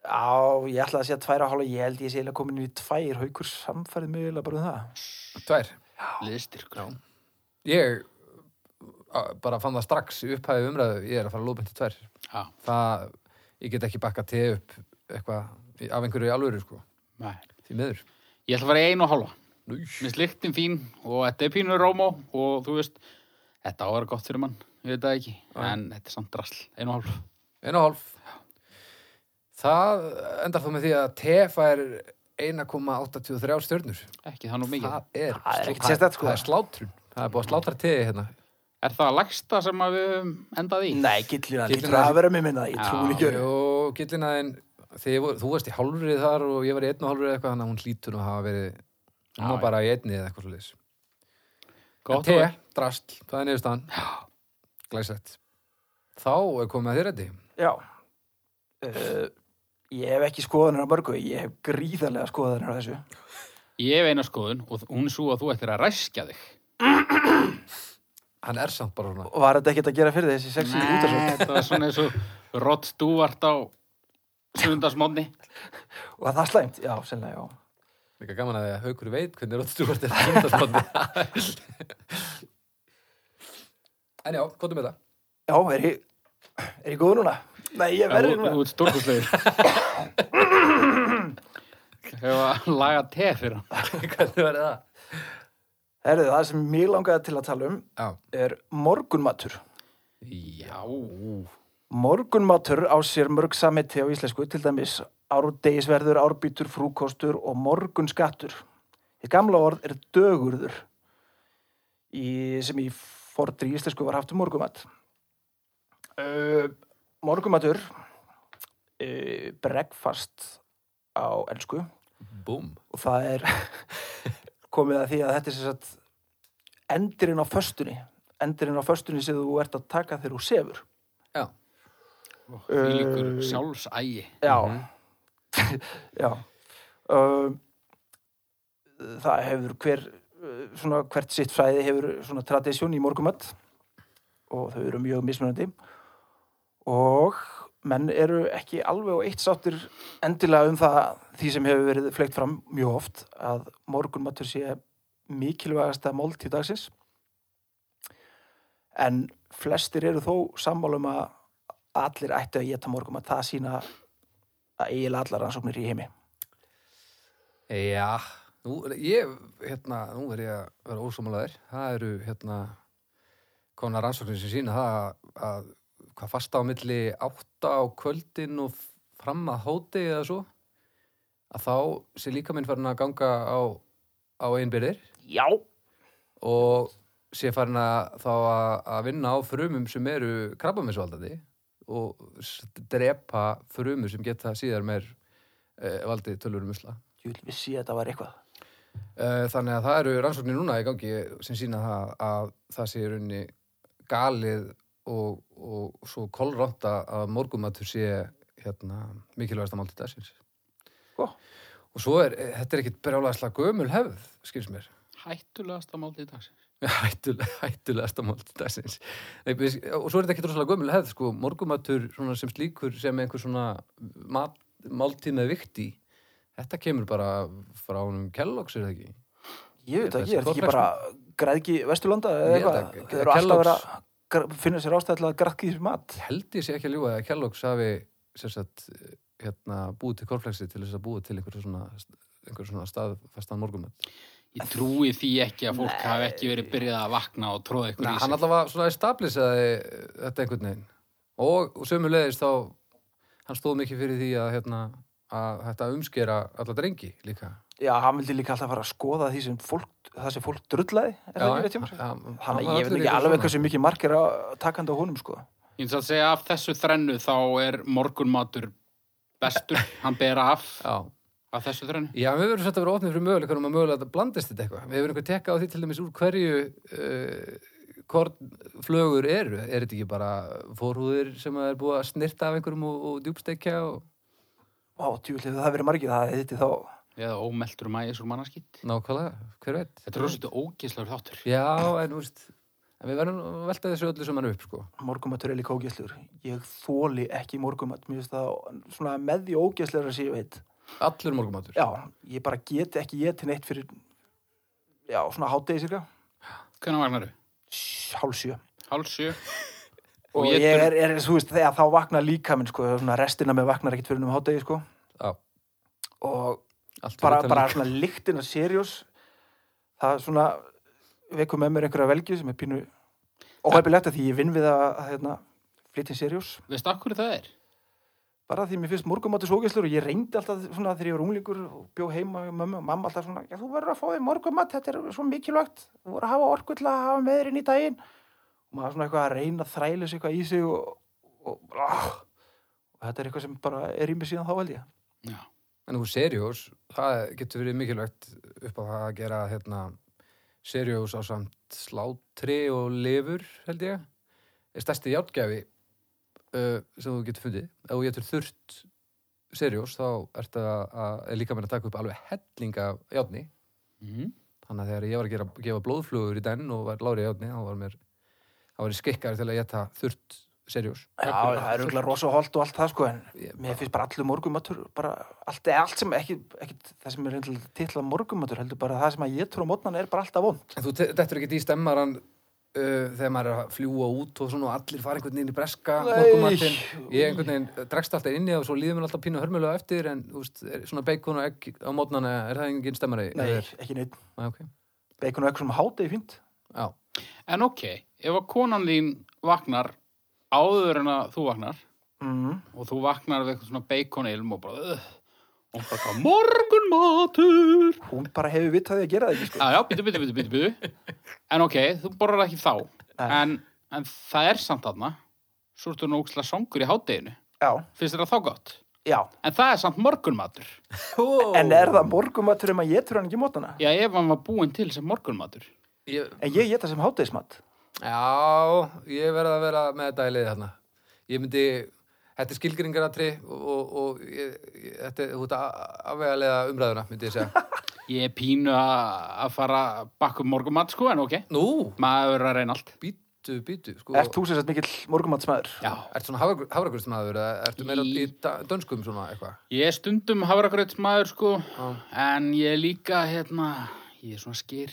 B: Já, ég ætla að segja tvær að hálfa ég held ég sé eiginlega komin í tvær haukur samfærið mig eiginlega bara um það
A: Tvær.
C: Liðstyrkur.
A: Ég a- bara fann það strax í upphæði umræðu, ég er að fara að lópa til tvær.
C: Já,
A: Það, ég get ekki bakka te upp eitthvað í- af einhverju í alvöru, sko,
C: nei.
A: því miður.
C: Ég ætla að fara í einu og halva.
A: Nú,
C: Mér sliktin fín og þetta er pínur rómó og þú veist, þetta á að vera gott fyrir mann. Ég veit það ekki. En þetta er samt drasl. Einu og halva.
A: Einu og hálf. Það endar þú með því að te fær 1,83 stjörnur.
C: Ekki það nú mikið.
A: Það er,
B: Það er ekkert sérstakt, sko.
A: Það er slátrun. Það er búið að slátra teði hérna.
C: Er það lægsta sem að við höfum endað í?
B: Nei, gillina, lítur
A: Gyllinan-
B: að vera með minna ég trúi
C: Já,
B: ekki öðru.
A: Og gillinaðin, þú varst í hálfrið þar og ég var í einn og hálfrið eitthvað, þannig að hún hlýtur nú að hafa verið, hún
C: Já,
A: var
C: já.
A: bara í einni eða eitthvað svo liðs.
C: Gott
A: te,
C: og vel.
A: drastl, það er niðurstaðan. Glæsett. Þá er komið að þér þetta.
B: Já uh, Ég hef ekki skoðanir á mörgu ég hef gríðarlega skoðanir á þessu
C: Ég hef eina skoðun og hún er svo að þú ættir að ræskja þig.
A: Hann er samt bara svona.
B: og var þetta ekkert að gera fyrir þessi sexi
C: Nei,
B: útarsótt
C: þetta var svona eins og Rod Stewart á sundarsmónni.
B: og það er slæmt, já, sennilega, já
A: Líka gaman að haukur veit hvernig róttu hvort þetta sundarspotni. en já, hvað með það?
B: Já, er ég, er ég góð núna? Nei, ég verði
C: Þú-
B: núna
C: Þú ert stórkustlegur. Hefur að laga te fyrir hann.
A: hvernig verður það?
B: Herðu, það sem mér langaði til að tala um
A: Já.
B: er morgunmatur.
C: Já.
B: Morgunmatur á sér mörg samheiti á íslensku, til dæmis árdegisverður, árbítur, frúkostur og morgunskattur. Í gamla orð er dögurður, í, sem í fordri íslensku var haft um morgunmat. Uh, morgunmatur, uh, breakfast á elsku,
A: Búm.
B: og það er komið að því að þetta er sem sagt endurinn á föstunni endurinn á föstunni sem þú ert að taka þegar þú sefur
A: Já.
C: Því líkur
B: Eh.
C: sjálfsægi.
B: já já um, það hefur hver uh, svona hvert sitt fræði hefur svona tradisjón í morgumat og þau eru mjög mismunandi og menn eru ekki alveg og eitt sáttir endilega um það því sem hefur verið fleikt fram mjög oft að morgunmatur sé mikilvægasta máltíð dagsins en flestir eru þó sammálum að allir ættu að geta morgunmat það sína að eiginlega allar rannsóknir í heimi
A: Já. Nú, ég, hérna, nú verður ég að vera ósámálaðir. Það eru, hérna, konar rannsóknir sem sína það að hvað fasta á milli átta á kvöldin og fram að hóti eða svo, að þá sé líka minn farin að ganga á, á einbyrðir
B: Já,
A: og sé farin að þá að að vinna á frumum sem eru krabbaminsvaldandi og s- drepa frumur sem geta síðar meir e, valdið tölurum usla.
B: Ég vil vissi að þetta var eitthvað.
A: E, þannig að það eru rannsóknir núna í gangi sem sína það að það sé í rauninni galið og, og svo kolrótt að morgumatur sé hérna, mikilvægasta máltið dagsins. Sko,
B: Ó.
A: Og svo er, eh, þetta er ekkit brjálæðslega gömul hefð, skils mér.
C: Hættulegasta máltið dagsins.
A: hættulega, hættulegasta máltíð dagsins Nei, við- og svo er þetta ekki rosalega gömul hefð sko, morgumatur svona sem slíkur sem einhver svona mat, máltíð með vikti þetta kemur bara frá honum Kellogg's er það ekki
B: Ég veit
A: Þetta er
B: ekki, er þetta
A: gott
B: ekki bara græðgi Vesturlanda eða
A: Ég held að-
B: eitthvað? Þeir eru alltaf að vera,
A: Kellogg's-
B: gra- finna sér ástæð til að græðgi sér mat.
A: Ég held ég sé ekki að ljúga að Kellogg's hafi sem sagt, hérna, búið til korflexi til þess að búið til einhver svona, einhver svona staðfastan morgumat
C: Ég trúi því ekki að fólk
B: Nei.
C: hafi ekki verið byrjað að vakna og tróða ykkur
A: Nei,
C: í sig.
A: hann allavega svona establisaði þetta einhvern veginn og, og sömulegis þá hann stóð mikið fyrir því að hérna, að þetta umskera alla drengi líka
B: Já, hann vildi líka alltaf fara að skoða því sem fólk, það sem fólk drullaði, er það ekki rétt hjá mér? Þannig að ég veit ekki alveg hversu mikið margir að takandi á honum, sko.
C: Ég finnst að segja af þessu þrennu þá er morgunmatur bestur, hann ber af
A: Já,
C: af þessu þrennu.
A: já við verðum svolítið að vera opnið fyrir möguleikunum að mögulega þetta blandist þetta eitthvað. Við hefur einhver tekka á því til dæmis úr hverju uh, kornflögur eru. Er þetta ekki bara forhúðir sem er búið að snirta af einhverjum og, og djúbstekja og
B: Ó, tjúlega, það hefði verið margir, það hefði þetta þá.
C: Eða ómeltur mægis úr mannarskitt.
A: nákvæmlega, hver veit?
C: Þetta er rosalega ógeðslagur þáttur.
A: Já, en, þú veist, en við verðum að velta þessu öllu saman upp, sko.
B: Morgumatur er líka ógæslur. Ég þóli ekki morgumat, mér finnst það svona með því ógæslur að séu veit.
A: Allur morgumatur.
B: Já, ég bara get ekki ég til neitt fyrir, já, svona hátegi cirka,
C: Hvernig vaknar þau?
B: hálsjö.
C: Háls sjö.
B: Og,
C: Og
B: ég,
C: étur-
B: er, er, þú veist, þegar þá vaknar líka minn, sko, svona restina með vaknar ekkit fyrir um hátegi, sko.
A: Já.
B: Og
A: Allt
B: bara,
A: utan
B: bara
A: líka.
B: svona lyktina seriós, það svona vekur með mér einhverja velgju sem er pínu óhefnilegt að því ég vinn við að, að hérna, flytja seriós.
C: Veist af hverju það er?
B: bara því mér finnst morgumátur svo ógeðslur og ég reyndi alltaf svona þegar ég var unglingur og bjó heima hjá mömmu og mamma alltaf svona já, þú verður að fá þér morgumát, þetta er svo mikilvægt þú verður að hafa orku til að hafa með þér inn í daginn og maður svona eitthvað að reyna að þræla sig eitthvað í sig og, og, og, og þetta er eitthvað sem bara er í mig síðan þá held ég
C: Já.
A: En þú seriós, það getur verið mikilvægt upp á það að gera hérna, seriós á samt slátri og lifur, held ég. Er stærsti játgæfi uh, sem þú getur fundið. Ef þú getur þurft seriós, þá ertu að, að er líka meira að taka upp alveg hellinga játni.
C: Mm.
A: Þannig að þegar ég var að gera, gefa blóðflugur í den og var lárið játni, þá var mér þá var ég skikkar til að geta þurft seriós.
B: Já, það er auðvitað rosa holt og allt það sko en
A: Ég-
B: mér finnst bara allur morgumátur bara allt, allt sem ekki, ekki það sem er reyndilega titlað morgumátur heldur bara það sem að ég trú á mótnan er bara alltaf vond
A: En þú te- dettur ekki í stemmaran uh, þegar maður er að fljúa út og svona og allir fara einhvern veginn í breska
B: Nei.
A: morgumatinn. Ég einhvern veginn eh, dregst alltaf inni og svo líður mér alltaf pínu hörmulega eftir en úst, er, svona bacon og egg á mótnana er það engin stemmari?
B: Nei,
A: Er,
B: ekki neitt
A: Nei, ok.
B: Bacon og eitthvað sem hátegi fínt
A: Já.
C: En ok, ef að konan þín vaknar áður en að þú vaknar
B: mm.
C: og þú vaknar við eitthvað svona beikonilm og bara uh, og bara hvað, morgunmatur
B: hún bara hefur vitað því að gera það ekki sko.
C: Já, já, býtu, býtu, býtu, býtu, býtu. En ok, þú borrar ekki þá.
B: Nei.
C: En, en það er samt aðna. Svo ertu nú ókslega songur í hádeginu.
B: já,
C: Finnst þér það þá gott?
B: já,
C: En það er samt morgunmatur.
B: en er það morgumatur um að ég trú hann ekki mótana
C: Já, ef hann var búinn til sem morgunmatur.
A: Ég,
B: en ég geta sem hátegismat
A: já, ég verða að vera með þetta í liði hérna. Ég myndi, þetta er skilgringaratri og, og, og ég, ég, þetta er út að afvegalega umræðuna, myndi ég segja.
C: Ég er pínu að að fara bakk um morgunmat, sko, en ok.
A: Nú,
C: Maður er að reyna allt.
A: býtu, býtu. Sko.
B: ert þú sem sagt mikill morgumatsmaður
C: Já.
A: Ertu svona hafragröðsmaður eða ertu meira í
C: Í-
A: da- dönskum svona eitthvað?
C: Ég er stundum hafragrautsmaður, sko.
A: Já.
C: En ég er líka, hérna, ég er svona skýr.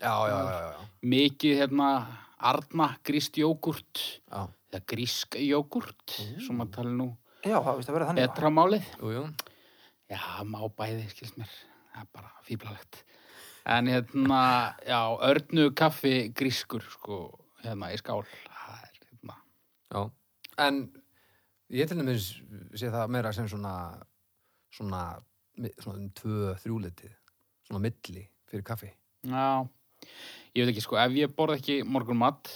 A: Já, já, já, já, já.
C: Mikið, hérna, arna, gríst jógurt.
A: já.
C: Eða grísk jógurt, svo maður tala nú
B: já, það vist að vera þannig
C: betra málið.
A: Jú, jú.
C: Já, má bæði, skilst mér. Það er bara fíblalegt. En hérna, já, örnu kaffi grískur, sko, hérna í skál. Það er, hérna,
A: Já. En ég til dæmis sé það meira sem svona svona, mi- svona um tvö þrjúleitið, svona milli fyrir kaffi.
C: já, ég veit ekki sko, ef ég borð ekki morgun mat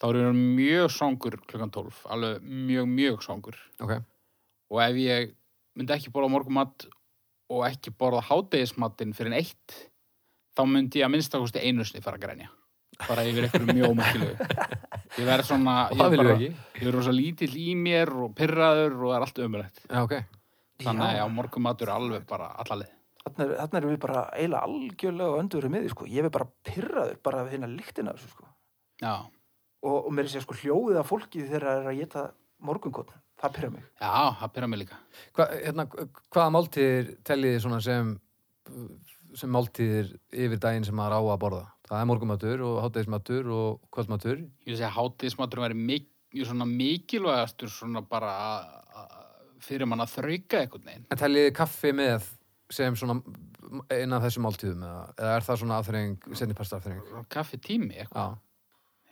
C: þá er ég mjög svangur klukkan 12, alveg mjög, mjög svangur
A: Ok.
C: og ef ég myndi ekki borða morgumat og ekki borða hádegismatinn fyrir en eitt þá myndi ég að minnstakosti einu sinni fara að grænja bara yfir einhverju mjög ómækilegu ég verð svona ég
A: Það
C: er
A: viljum
C: bara,
A: við ekki.
C: ég er rosa lítill í mér og pyrraður og það er allt ömulegt
A: Já, ok.
C: þannig að morgumatur er alveg bara allalið
B: Þannig er, þarna erum við bara eiginlega algjörlega öndurum með því, sko. Ég er bara pyrraður bara við hérna lyktina af þessu, sko.
C: já,
B: Og, og mér er sér sko hljóðið af fólki þegar það er að geta morgunkotn. Það pyrra mig.
C: já, það pyrra mig líka
A: Hva, hérna, hvaða máltíðir teljiði svona sem, sem máltíðir yfir daginn sem maður á að borða? Það er morgumatur og hátæðismatur og kvöldmatur.
C: ég vil segja að hádegismatur væri mik svona mikilvægastur svona bara að- að- fyrir mann að þrauka einhvern veginn
A: En teljiði kaffi með sem svona innan þessu máltíðum eða, eða er það svona aðþreying, setni pasta aðþreying?
C: kaffi tími eitthvað
A: Já.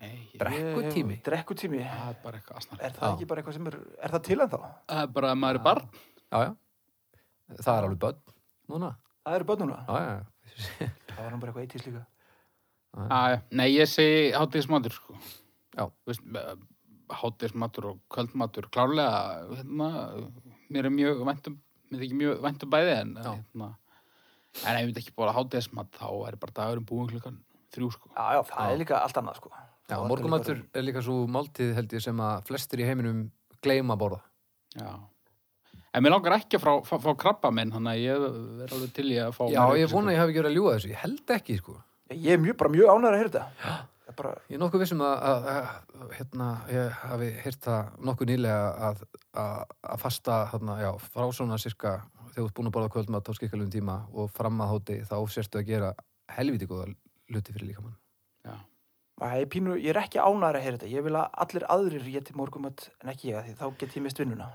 C: Nei, ég-
A: Brekkutími?
B: Drekkutími.
C: það er bara eitthvað asnalegt.
B: Er það
A: Já.
B: ekki bara eitthvað sem er, er það til en þá?
C: Það er bara að maður er barn.
A: Já, já. Það er alveg börn núna.
B: Það eru börnuna.
A: Já, já, já.
B: Það var nú bara eitthvað eitís líka.
C: Að, nei, ég segi hátíðismatur, sko.
A: Já.
C: Þú Veist, eh, hátíðismatur og kvöldmatur, klárlega, hérna, mér er mjög væntum, mér er ekki mjög væntum bæði, en,
A: Já.
C: hérna, en ef ég myndi ekki búið að hátíðismat, þá er bara dagurum búin klukkan þrjú, sko.
B: Já, já, það er líka allt annað, sko.
A: Já,
B: Það er
A: morgumatur
B: líka
A: er líka svo máltíð held ég sem að flestir í heiminum gleyma að borða.
C: Já. En mér langar ekki að fá, fá, fá krabba minn, þannig að ég er alveg til í að fá...
A: Já,
C: meira
A: ég vona
C: upplýsingar.
A: að ég hafi ekki verið að ljúga þessu. Ég held ekki, sko.
B: bara- Ég er mjög, bara mjög ánægður að heyra þetta. Það er bara,
A: Ég er nokkuð vissum að, að, að hérna, ég hafi heyrt það nokkuð nýlega að, að, að fasta hérna, já, frá svona cirka þegar þú ert búin að borða kvöldmatt á skikkalum tíma og fram að hóti þá sérstu að gera helviti góða luti fyrir líkamann.
B: Æ, ég, pínu, ég er ekki ánægður að heyra þetta. Ég vil að allir aðrir geti morgumat en ekki ég, af því þá get ég mist vinnuna.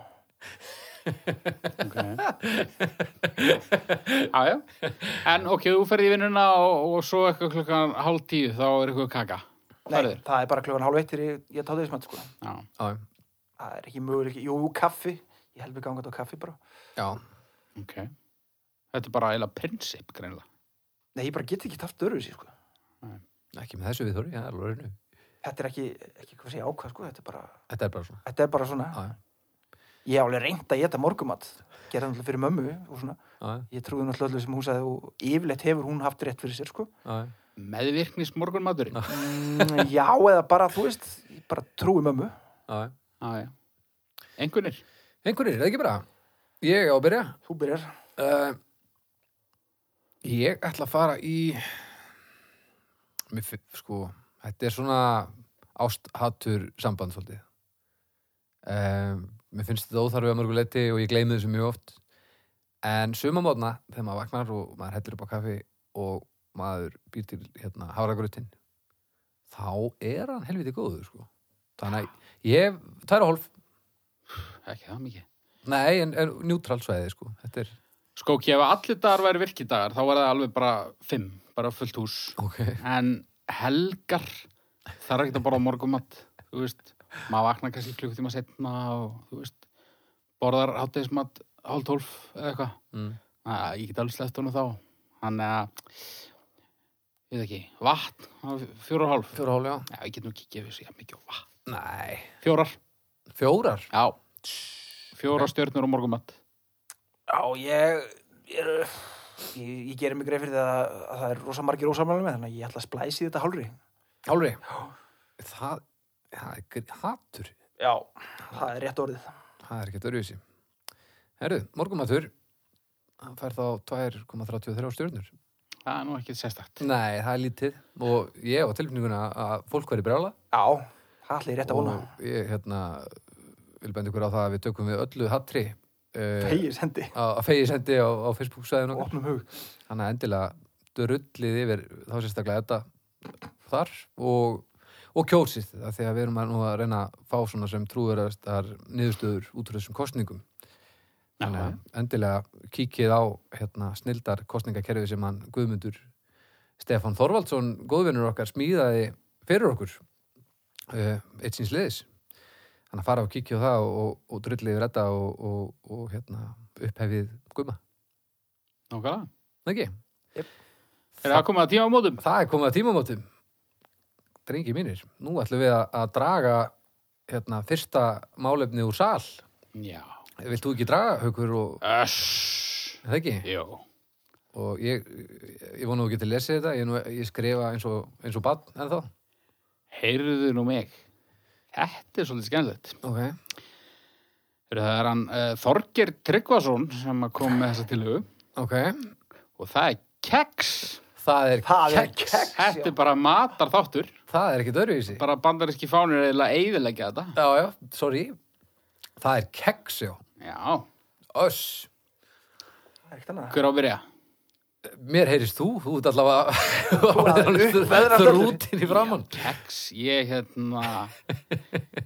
C: Já, já. En ok, þú ferði í vinnuna og, og svo eitthvað klukkan hálf tíu, þá er eitthvað kaka.
B: Nei,
C: Færður?
B: það er bara klukkan hálf eittir ég, ég tátu þessum að sko.
C: Já.
A: Já,
B: Það er ekki möguleik, jú, kaffi. Ég held mig gangað á kaffi bara.
A: já.
C: Ok. Þetta er bara eila prinsip, greinlega.
B: Nei, ég bara get ekki taft öru sér, sko.
A: ekki með þessu við þorri, ég er alveg raunum.
B: Þetta er ekki, ekki hvað segja ákvað, sko. Þetta er bara,
A: Þetta er bara svona.
B: þetta er bara svona.
A: Já, já.
B: Ég hef alveg reynd að geta morgumat. Gerði það náttúrulega fyrir mömmu og svona.
A: Já, já,
B: Ég trúði náttúrulega öllu sem hún sagði og yfirleitt hefur hún haft rétt fyrir sér, sko.
A: já, já.
C: Meðvirknis morgunmaturinn.
B: Mm, já, eða bara, þú veist, ég bara trúi mömmu.
A: já, já.
C: Já, Ah, já. Engunir.
A: Einhverjir, er það ekki bara? Ég á að byrja.
B: Þú byrjar.
A: Uh, ég ætla að fara í mér finn, sko þetta er svona ásthattur samband svolítið um, mér finnst þetta óþarfið að mörgu leiti og ég gleymi þessu mjög oft en sumamótna þegar maður vaknar og maður hellir upp á kaffi og maður býr til hérna hafragrötin þá er hann helviti góður sko þannig að ég, tæra hólf
C: Ekki það mikið.
A: nei, en, en njútrál svæði sko þetta er,
C: Sko, ok, ef allir dagar væri virkidagar, þá var það alveg bara fimm, bara fullt hús.
A: ok
C: En helgar, það er ekkert að borða morgunmat, þú veist. Maður vaknar kannski klukkutíma setna og, þú veist, borðar háttegismat hálf tólf eða eitthvað.
A: mm.
C: Að, ég get alveg sleppt honum þá. Þannig að, ég veit ekki, vatn, það var fjóra og hálf.
A: Fjóra hálf, já.
C: Já, ég get nú ekki gefið sér mikið á vatn.
A: Nei.
C: Fjórar,
A: Fjórar?
C: já. Fjórar stjörnur og morgumat.
B: Já, ég, ég, er- ég, ég gerir mig greið fyrir það að, að það er rosa margir ósamlega með, þannig að ég ætla að splæsi þetta hálfri.
A: Hálfri? Það, það er gr- hatur.
B: Já. Það er rétt orðið.
A: Það er ekkert öruvísi. Herru, morgumatur, hann fær þá 2,33 stjörnur.
C: Það er nú ekki sérstakt.
A: Nei, það er lítið. Og ég á tilfinninguna að fólk væri brjála.
B: Já, það ætla ég rétt að vona.
A: Og ég, hérna, vil benda ykkur á það að við tökum við öllu hattri uh,
B: Pegir sendi
A: að fegi sendi á, á Facebook-sæðinu
B: og
A: okkar.
B: opnum hug.
A: Þannig að endilega drullið yfir þá sérstaklega þetta þar og, og kjósið af því að við erum að nú að reyna að fá svona sem trúverðastar niðurstöður út úr þessum kostningum. Þannig
C: Já,
A: að endilega kíkið á hérna, snildar kostningakerfi sem hann Guðmundur Stefán Þorvaldsson, góðvinnur okkar, smíðaði fyrir okkur uh, eitt síns liðis. Þannig að fara og kíkja á það og, og drullið yfir þetta og, og, og hérna, upphefið Guðma.
C: Nákvæmlega.
A: Ekki?
B: Jep.
C: Er það komið að tíma á mótum?
A: Það er komið að tímamótum. Drengi mínir, nú ætlum við að, að draga hérna, fyrsta málefni úr sal.
C: Já.
A: Vilt þú ekki draga, Haukur, og
C: Öss.
A: er það ekki?
C: Jó.
A: Og ég, ég vona þú getur lesið þetta, ég, er nú, ég skrifa eins og, eins og bann en þá.
C: Heyrðu nú mig. Þetta er svolítið skemmtilegt.
A: Ok.
C: Heyrðu, Það er hann uh, Þorger Tryggvason sem að kom með þessa tilhug
A: Ok.
C: og það er keks.
A: Það er
B: Það er
A: keks.
B: keks, já.
C: Þetta er bara matar þáttur.
A: Það er ekkit öðruvísi.
C: Bara bandaríski fánir eða eiðilegja þetta.
A: Já, já, sorry. Það er keks, já.
C: Já.
A: Öss.
B: Það er ekkert annað.
C: Hver á að byrja?
A: Mér heyrist þú, þú ert allavega orðin
B: veðra
A: hann þrútin í framann.
C: Keks, ég hérna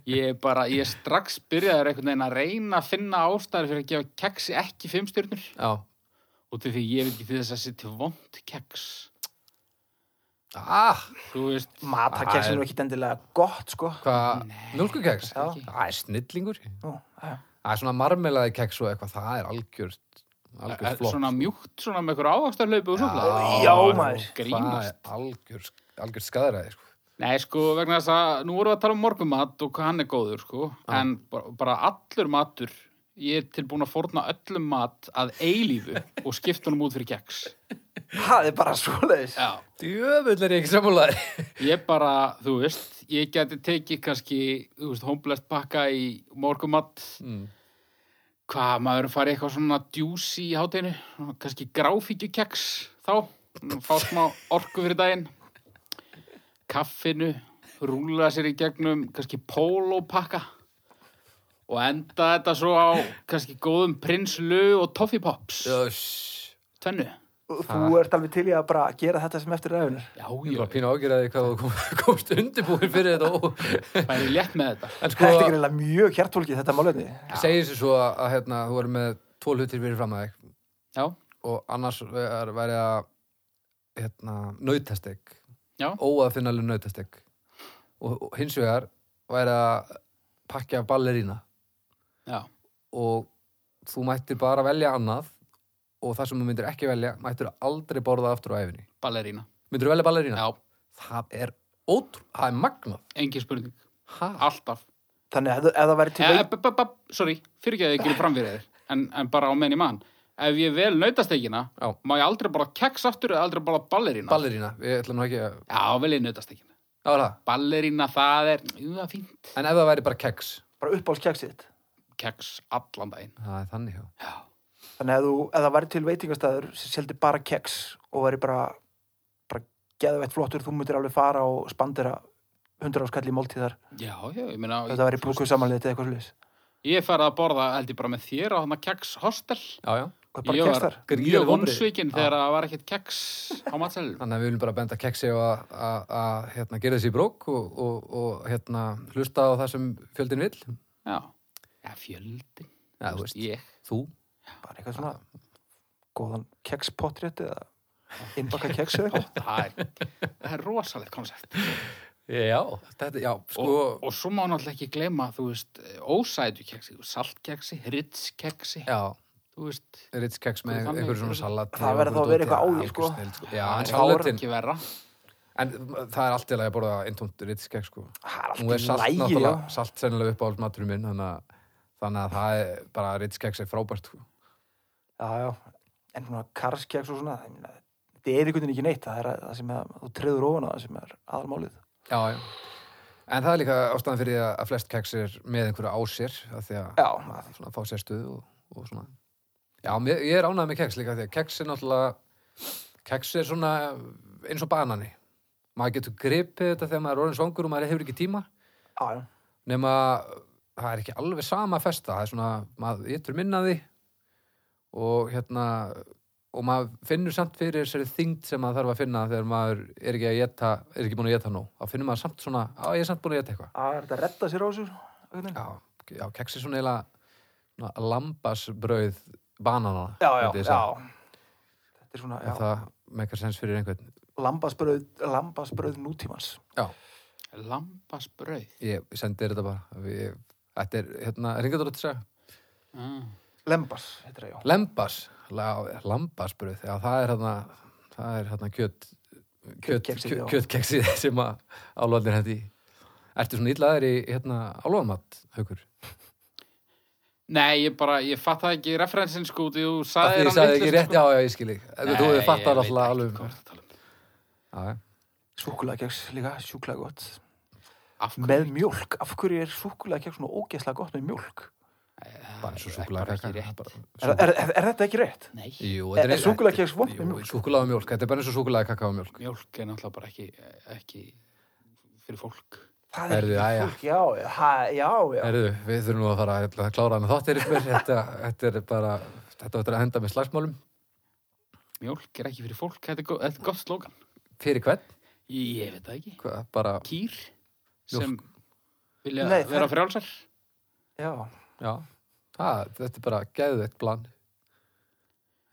C: ég er bara, ég er strax byrjaður einhvern veginn að reyna að finna ástæður fyrir að gefa keksi ekki fimm stjörnur
A: Já.
C: og til því ég er ekki til þess að sitja vond keks
A: Ah,
C: þú veist,
B: Matakeks
A: Það
B: er
A: er-
B: nú ekkit endilega gott, sko.
A: hvað, mjölkukeks?
B: Já.
A: Það er snillingur.
B: Nú, já.
A: Það er svona marmelaði keks og eitthvað, það er algjört,
C: er
A: algjört flott.
C: eh, svona mjúkt svona með einhver ávakstarlaupu og svona
B: Já, maður.
A: Það
C: grínast
A: er algjör, algjör skadræði, sko.
C: Nei, sko, vegna þess að nú vorum við að tala um morgumat og hvað hann er góður, sko
A: Já.
C: en bara, bara allur matur ég er tilbúin að forna öllum mat að eilífu og skipta honum út fyrir keks
B: Það er bara svoleiðis.
C: Já
A: Djöfull er ég ekki sammálaði.
C: Ég bara, þú veist, ég geti tekið kannski, þú veist, homblest pakka í morgumatt,
A: Mm.
C: hvað maður farið eitthvað svona djúsi í hátinu, kannski gráfíkjukeks þá, fá smá orku fyrir daginn, kaffinu, rúla sér í gegnum, kannski pólópakka og enda þetta svo á kannski góðum prinslu og toffipops,
A: Jöss.
C: tvennu.
B: Og Þú ert alveg til í að bara gera þetta sem eftir ræðunir.
C: Já,
A: Ég
C: já,
A: var pínu ágjörði hvað þú kom- komst undirbúin fyrir þetta. og-
C: færi létt með þetta.
A: En sko,
B: Þetta er greinlega mjög hjartfólkið þetta málefni.
A: segir sér svo að hérna, þú erum með tvo hlutir fyrir fram að þig
C: Já,
A: og annars er verið að hérna, nautastek
C: Já.
A: óaðfinnalegu nautastek og, og hins vegar væri að pakka ballerína
C: já,
A: og þú mættir bara velja annað og það sem þú myndir ekki velja mættir aldrei borða aftur á æfinni
C: ballerína.
A: myndir velja ballerína?
C: Já,
A: það er ótrú, það er magnað
C: engin spurning.
A: ha?
C: Alltaf.
B: Þannig að ef það væri til...
C: Eh,
B: laun-
C: b- b- b- Sorry, fyrir ekki að ég gerir fram fyrir þér, en, en bara á menn í mann. Ef ég vel nautasteikina,
A: Já.
C: má ég aldrei bara keks aftur eða aldrei bara ballerína.
A: ballerína, við ætlum nú ekki að
C: Já, vel ég nautasteikina.
A: Já, er það.
C: Ballerína, það er, jú, það er fínt.
A: en ef það væri bara keks
B: Bara uppáhaldskeksið þitt.
C: Keks allan daginn.
A: það er þannig já
C: Já.
B: Þannig að þú, ef það væri til veitingastæður sem seldi bara keks og væri bara, bara geðveitt flottur, þú myndir alveg fara og spandera 100 áskall í máltíðar.
C: Já, já, ég meina,
B: Þetta væri brúkuð samanlega eða eitthvað slúðis.
C: ég er farið að borða, held ég bara með þér á þannig keks hostel.
A: Já, já.
B: Og bara
C: ég
B: keks þar.
C: var
A: Gríðarleg
C: mjög
A: vonbrigði.
C: vonsvikinn
A: Já.
C: þegar það var ekkert keks á matselum.
A: Þannig að við viljum bara benda keksi og að- að að, hérna, gera þessi í brók og, og, og hérna, hlusta á það sem fjöldin vill.
C: Já, já fjöldi,
A: Já, þú veist,
C: ég.
A: þú.
B: Bara eitthvað svona góðan kekspotrétt eða innbaka keks eða eitthvað.
C: Það er, það er rosalegt koncept.
A: Já, þetta, já, sko,
C: og, og svo má náttúrulega ekki gleyma þú veist, ósætu keksi saltkeksi, hritskeksi
A: já,
C: þú veist,
A: Ritz keks með
C: Þannig-
A: einhverjum svona salat.
B: Það verður þá að vera eitthvað á því, sko.
A: Já, en
C: það er
A: salatin,
C: ekki verra
A: en það er allt í lagi að borða eintónt Ritz keks, sko. Nú er
B: Það er alltaf
A: salt
B: lægir, já.
A: náttúrulega, salt sennilega upp á maturum minn, þannig að, þannig að það er bara Ritz keks er frábært, sko.
B: Já, já. En svona karskeks og svona, ég meina, þetta er einhvern veginn ekki neitt. Það er að- það sem að, þú treður ofan á það sem er aðalmálið.
A: Já, já. En það er líka ástæðan fyrir því að að flest keks er með einhverju á sér, af því að
B: Já,
A: svona, fá sér stuð og, og svona Já, mér, ég er ánægð með keks líka því að keks er náttúrulega keks er svona eins og banani maður getur gripið þetta þegar maður er orðin svangur og maður hefur ekki tíma
B: já, já.
A: nema það er ekki alveg sama festa það er svona, maður yttur minnaði og hérna og maður finnur samt fyrir þessari þyngd sem maður þarf að finna þegar maður er ekki að geta, er ekki búin að geta nóg þá finnur maður samt svona, á ég er samt búin að geta eitthvað
B: Það er þetta að redda sér á þessu. einhvern veginn.
A: já, já keks er svona eiginlega svona lambasbrauð banana
B: Já, já, já. Þetta er svona,
A: Ef
B: já,
A: það meikar sens fyrir einhvern
B: lambasbröð, lambasbröð nútímans.
C: lambasbrauð
A: ég sendi þér þetta bara Við, þetta er hérna, ringaður að segja
C: ah.
B: Lembas, heitir það, já.
A: lembas, la, lambasbrauð já, það er hérna það er hérna kjöt, kjöt,
B: Kjötkeksið,
A: kjöt,
B: já.
A: kjötkeksið sem að álvarnir hætti Ertu svona illaðir í hérna álvarmatt, haukur?
C: Nei, ég bara, ég fatt það ekki referensin sko út í þú
A: Það
C: sagði
A: er
C: hann sko.
A: sagði ekki rétt, já, já, ég skil ég Þú hefur fattar alltaf alveg um-
C: alveg
A: Já, já.
B: Súkulagjags líka, sjúkla gott.
C: Af hverju?
B: Með mjólk, af hverju er súkulagjags svona ógeðslega gott með mjólk?
A: bara eins og
C: Það er bara
A: súkulega
C: ekki rétt.
B: Er, er, er, er þetta ekki rétt?
C: Nei,
A: Jú,
B: Er, er súkulagjags vond með mjólk?
A: Súkulega og mjólk, þetta er bara eins og súkulega kakao og mjólk
C: mjólk er náttúrulega bara ekki, ekki fyrir fólk.
B: Það er
A: Herðu,
B: ekki
A: jæja.
B: fólk, já, já, ha- já, já.
A: Herðu, við þurfum nú að fara að að klára hann þáttir ykkur, þetta, þetta er bara þetta var að henda með slagsmálum
C: Mjólk er ekki fyrir fólk, þetta er, go þetta er gott slókan.
A: fyrir hvern,
C: Ég veit það ekki.
A: Hvað, bara,
C: Kýr sem vilja
B: Nei, það-
C: vera frjálsar.
B: já.
A: já það, þetta er bara geðveitt plan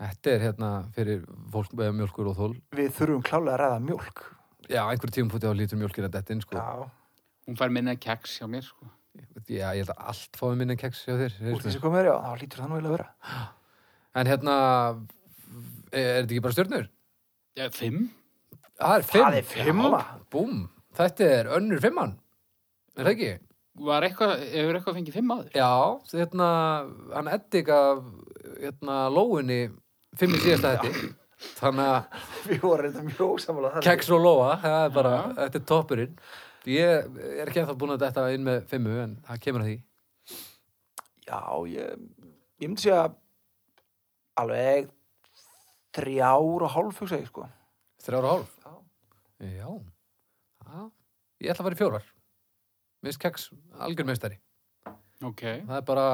A: þetta er hérna fyrir fólk með mjólkur og þól
B: Við þurfum klálega að ræða mjólk.
A: já, einhverjum tímum fóti á lítur mjólkir að þetta inn sko.
B: Já,
C: Hún fær minna keks hjá mér, sko.
A: já, ég held að allt fáið minna keks hjá þér
B: úr
A: heyrðu
B: þessi
A: mér.
B: komið er, já, þá lítur það nú eiginlega að vera.
A: en hérna er, er þetta ekki bara stjörnur?
C: Já, fimm?
A: það er fimm,
B: Það er fimma.
A: búm, þetta er önnur fimmann er það ekki?
C: Var eitthvað, hefur eitthvað fengið fimm aður?
A: Já, hérna, hann eddik af hérna, lóunni fimm í síðasta hætti þannig að
B: Við vorum reynda mjög um samanlega þar.
A: keks og lóa það er bara,
C: Já.
A: þetta er toppurinn ég er ekki ennþá búin að þetta inn með fimmu en það kemur að því
B: Já, ég, ég myndi segja alveg þrjár og hálf, hugsa ég, sko.
A: þrjára hálf
B: Já.
A: Já, Já. ég ætla að fara í fjórar minnst keks algjörmeistari
C: Ok.
A: það er bara,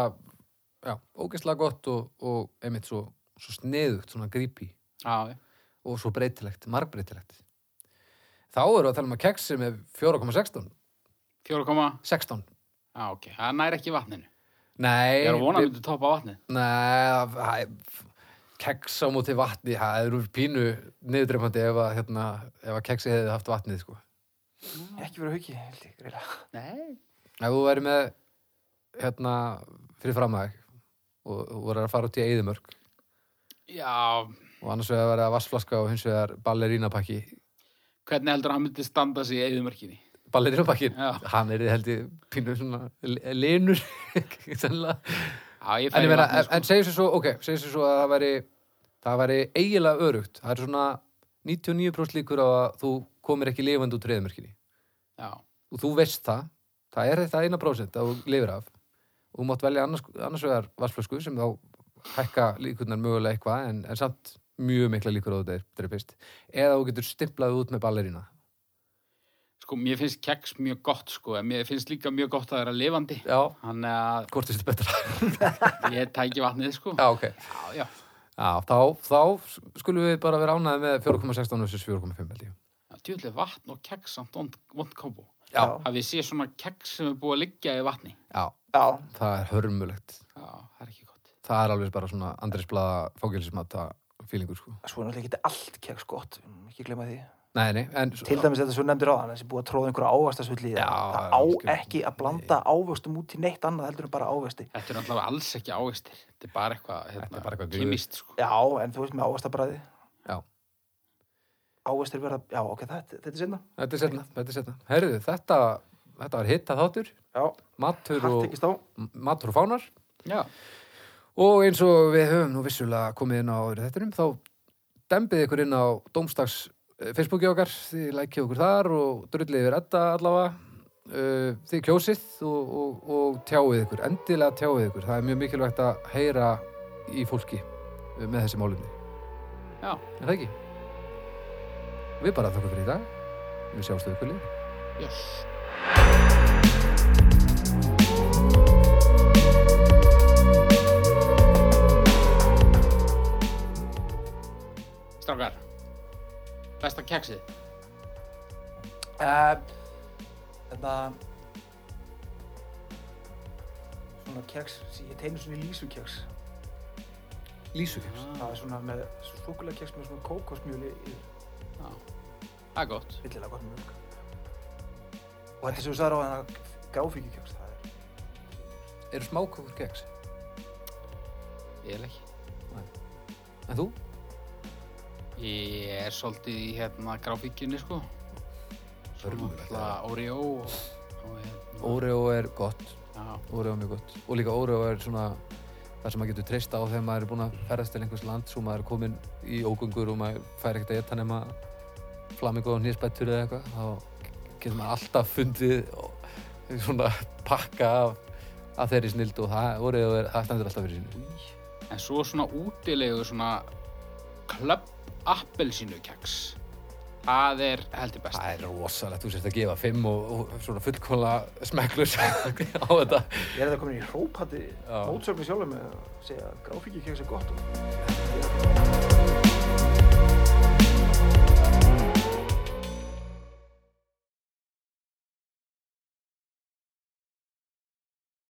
A: já, ógeðslega gott og, og einmitt svo, svo sneðugt, svona grípi
C: Já, já.
A: og svo breytilegt, margbreytilegt þá eru við að tala um að keks sem er 4,16
C: Fjóra koma,
A: 16
C: já, ok. Það nær ekki vatninu.
A: Nei,
C: Ég er að vona að
A: við-
C: myndu topa vatnið.
A: nei það- keks á móti vatni það eru pínu niðurdreifandi ef að, hérna, ef að keksi hefði haft vatnið sko.
B: Ekki verið hauki, held ég, reyla.
C: Nei.
A: ef þú væri með hérna, fyrir framæg og og voru að fara út í eðimörk
C: Já,
A: og annars vegar verið að vassflaska og hins vegar ballerínapakki
C: hvernig heldur hann myndi standa sig í eðumörkinni?
A: ballerínapakkin,
C: Já.
A: hann er held ég pínu svona li- linur sannlega
C: Já, ég
A: en,
C: færi
A: ég meina,
C: vatnið, sko.
A: en, en segjum sér svo, ok, segjum sér svo að það væri það væri eiginlega örugt það er svona 99% líkur á að þú komir ekki lifandi út reyðmörkinni
C: Já,
A: og þú veist það, það er þetta eina prósent að þú lifir af og þú mátt velja annars, annars vegar vassflösku sem þá hækka líkurnar mögulega eitthvað en, en samt mjög mikla líkur á þetta er dreipist eða þú getur stimplað út með ballerína
C: sko, mér finnst keks mjög gott, sko, en mér finnst líka mjög gott að það er að lifandi.
A: já,
C: Þannig að
A: hvort er þetta betra
C: ég tæki vatnið, sko.
A: já, ok,
C: Já, já.
A: já, þá, þá skulum við bara vera ánæði með 4,16 versus 4,5 held ég.
C: Tjóðlega vatn og keks samt vond, vond kombo.
A: já,
C: Að við sé svona keks sem er búið að liggja í vatni.
A: já,
B: Já,
A: það er hörmulegt
C: Já, það er ekki gott.
A: það er alveg bara svona Andrés Blaða fókjölismata fílingur sko.
B: svo er náttúrulega ekki allt sko, keks gott, við megum ekki glemma því.
A: Nei, nei, en svo,
B: Til dæmis þetta sem þú nefndir á þannig þessi búið að tróða einhverja ávastasvill í
A: Já, það er
B: það. Það á
A: algjörlega.
B: ekki að blanda ávastum út í neitt annað heldur en bara ávasti.
C: Þetta er náttúrulega alls ekki ávistir. Þetta er bara eitthvað, hérna,
A: Þetta er bara eitthvað gluð.
C: kýmist, sko.
B: Já, en þú veist með ávastabræði.
A: Já.
B: Ávastir verða, já, ok, þetta, þetta er sinna.
A: þetta er setna, þetta er setna. Herðu, þetta, þetta var hitta þáttur,
B: Já,
A: matur
B: hægt
A: og,
B: ekki stá.
A: matur og fánar.
C: Já.
A: Og eins og við höfum nú vissulega komið inn á öðru þettinum, þá dembið ykkur inn á Dómstags eh, Facebooki okkar, þið lækið okkur þar og drullið yfir edda allavega, eh, þið kjósið og, og, og tjáið ykkur, endilega tjáið ykkur. Það er mjög mikilvægt að heyra í fólki eh, með þessi málumni.
C: Já.
A: Er það ekki? Við bara þakka fyrir í dag. Við sjáumstu ykkur líka.
C: Yes. Strákar, besta keksið.
B: Uh, þetta svona keks ég tegni svona í lísukeks
A: Lísukjöfs.
B: það er svona með súkulega keks með svona kókosmjöli yfir
C: Já, það er gott.
B: villilega gott mjölk og þetta sem við sagðum á þennan gráfíkjukeks það er
A: Eru smákökur keks?
C: Ég er ekki.
A: En þú?
C: Ég er svolítið í hérna grafíkinni sko Svona
A: Hörmulegt.
C: alltaf Oreo og, og hérna
A: Oreo er gott,
C: já,
A: Oreo er mjög gott og líka Oreo er svona það sem maður getur treysta á þegar maður er búin að ferðast til einhvers land svo maður er komin í ógöngur og maður fær ekkert að geta nema flamingo og nýrspættur eða eitthvað þá getur maður alltaf fundið svona pakka af, af þeirri snild og það Oreo er, það stendur alltaf fyrir sínu
C: En svo svona útilegu svona Club Appelsínu keks Það er heldur best
A: Það er rosalegt, þú sérst að gefa fimm og, og svona fullkóla smekklus á þetta
B: Ég er þetta komin í hrópati
A: Já.
B: mótsögnu sjálfum með að segja að gráfíki keks er gott og...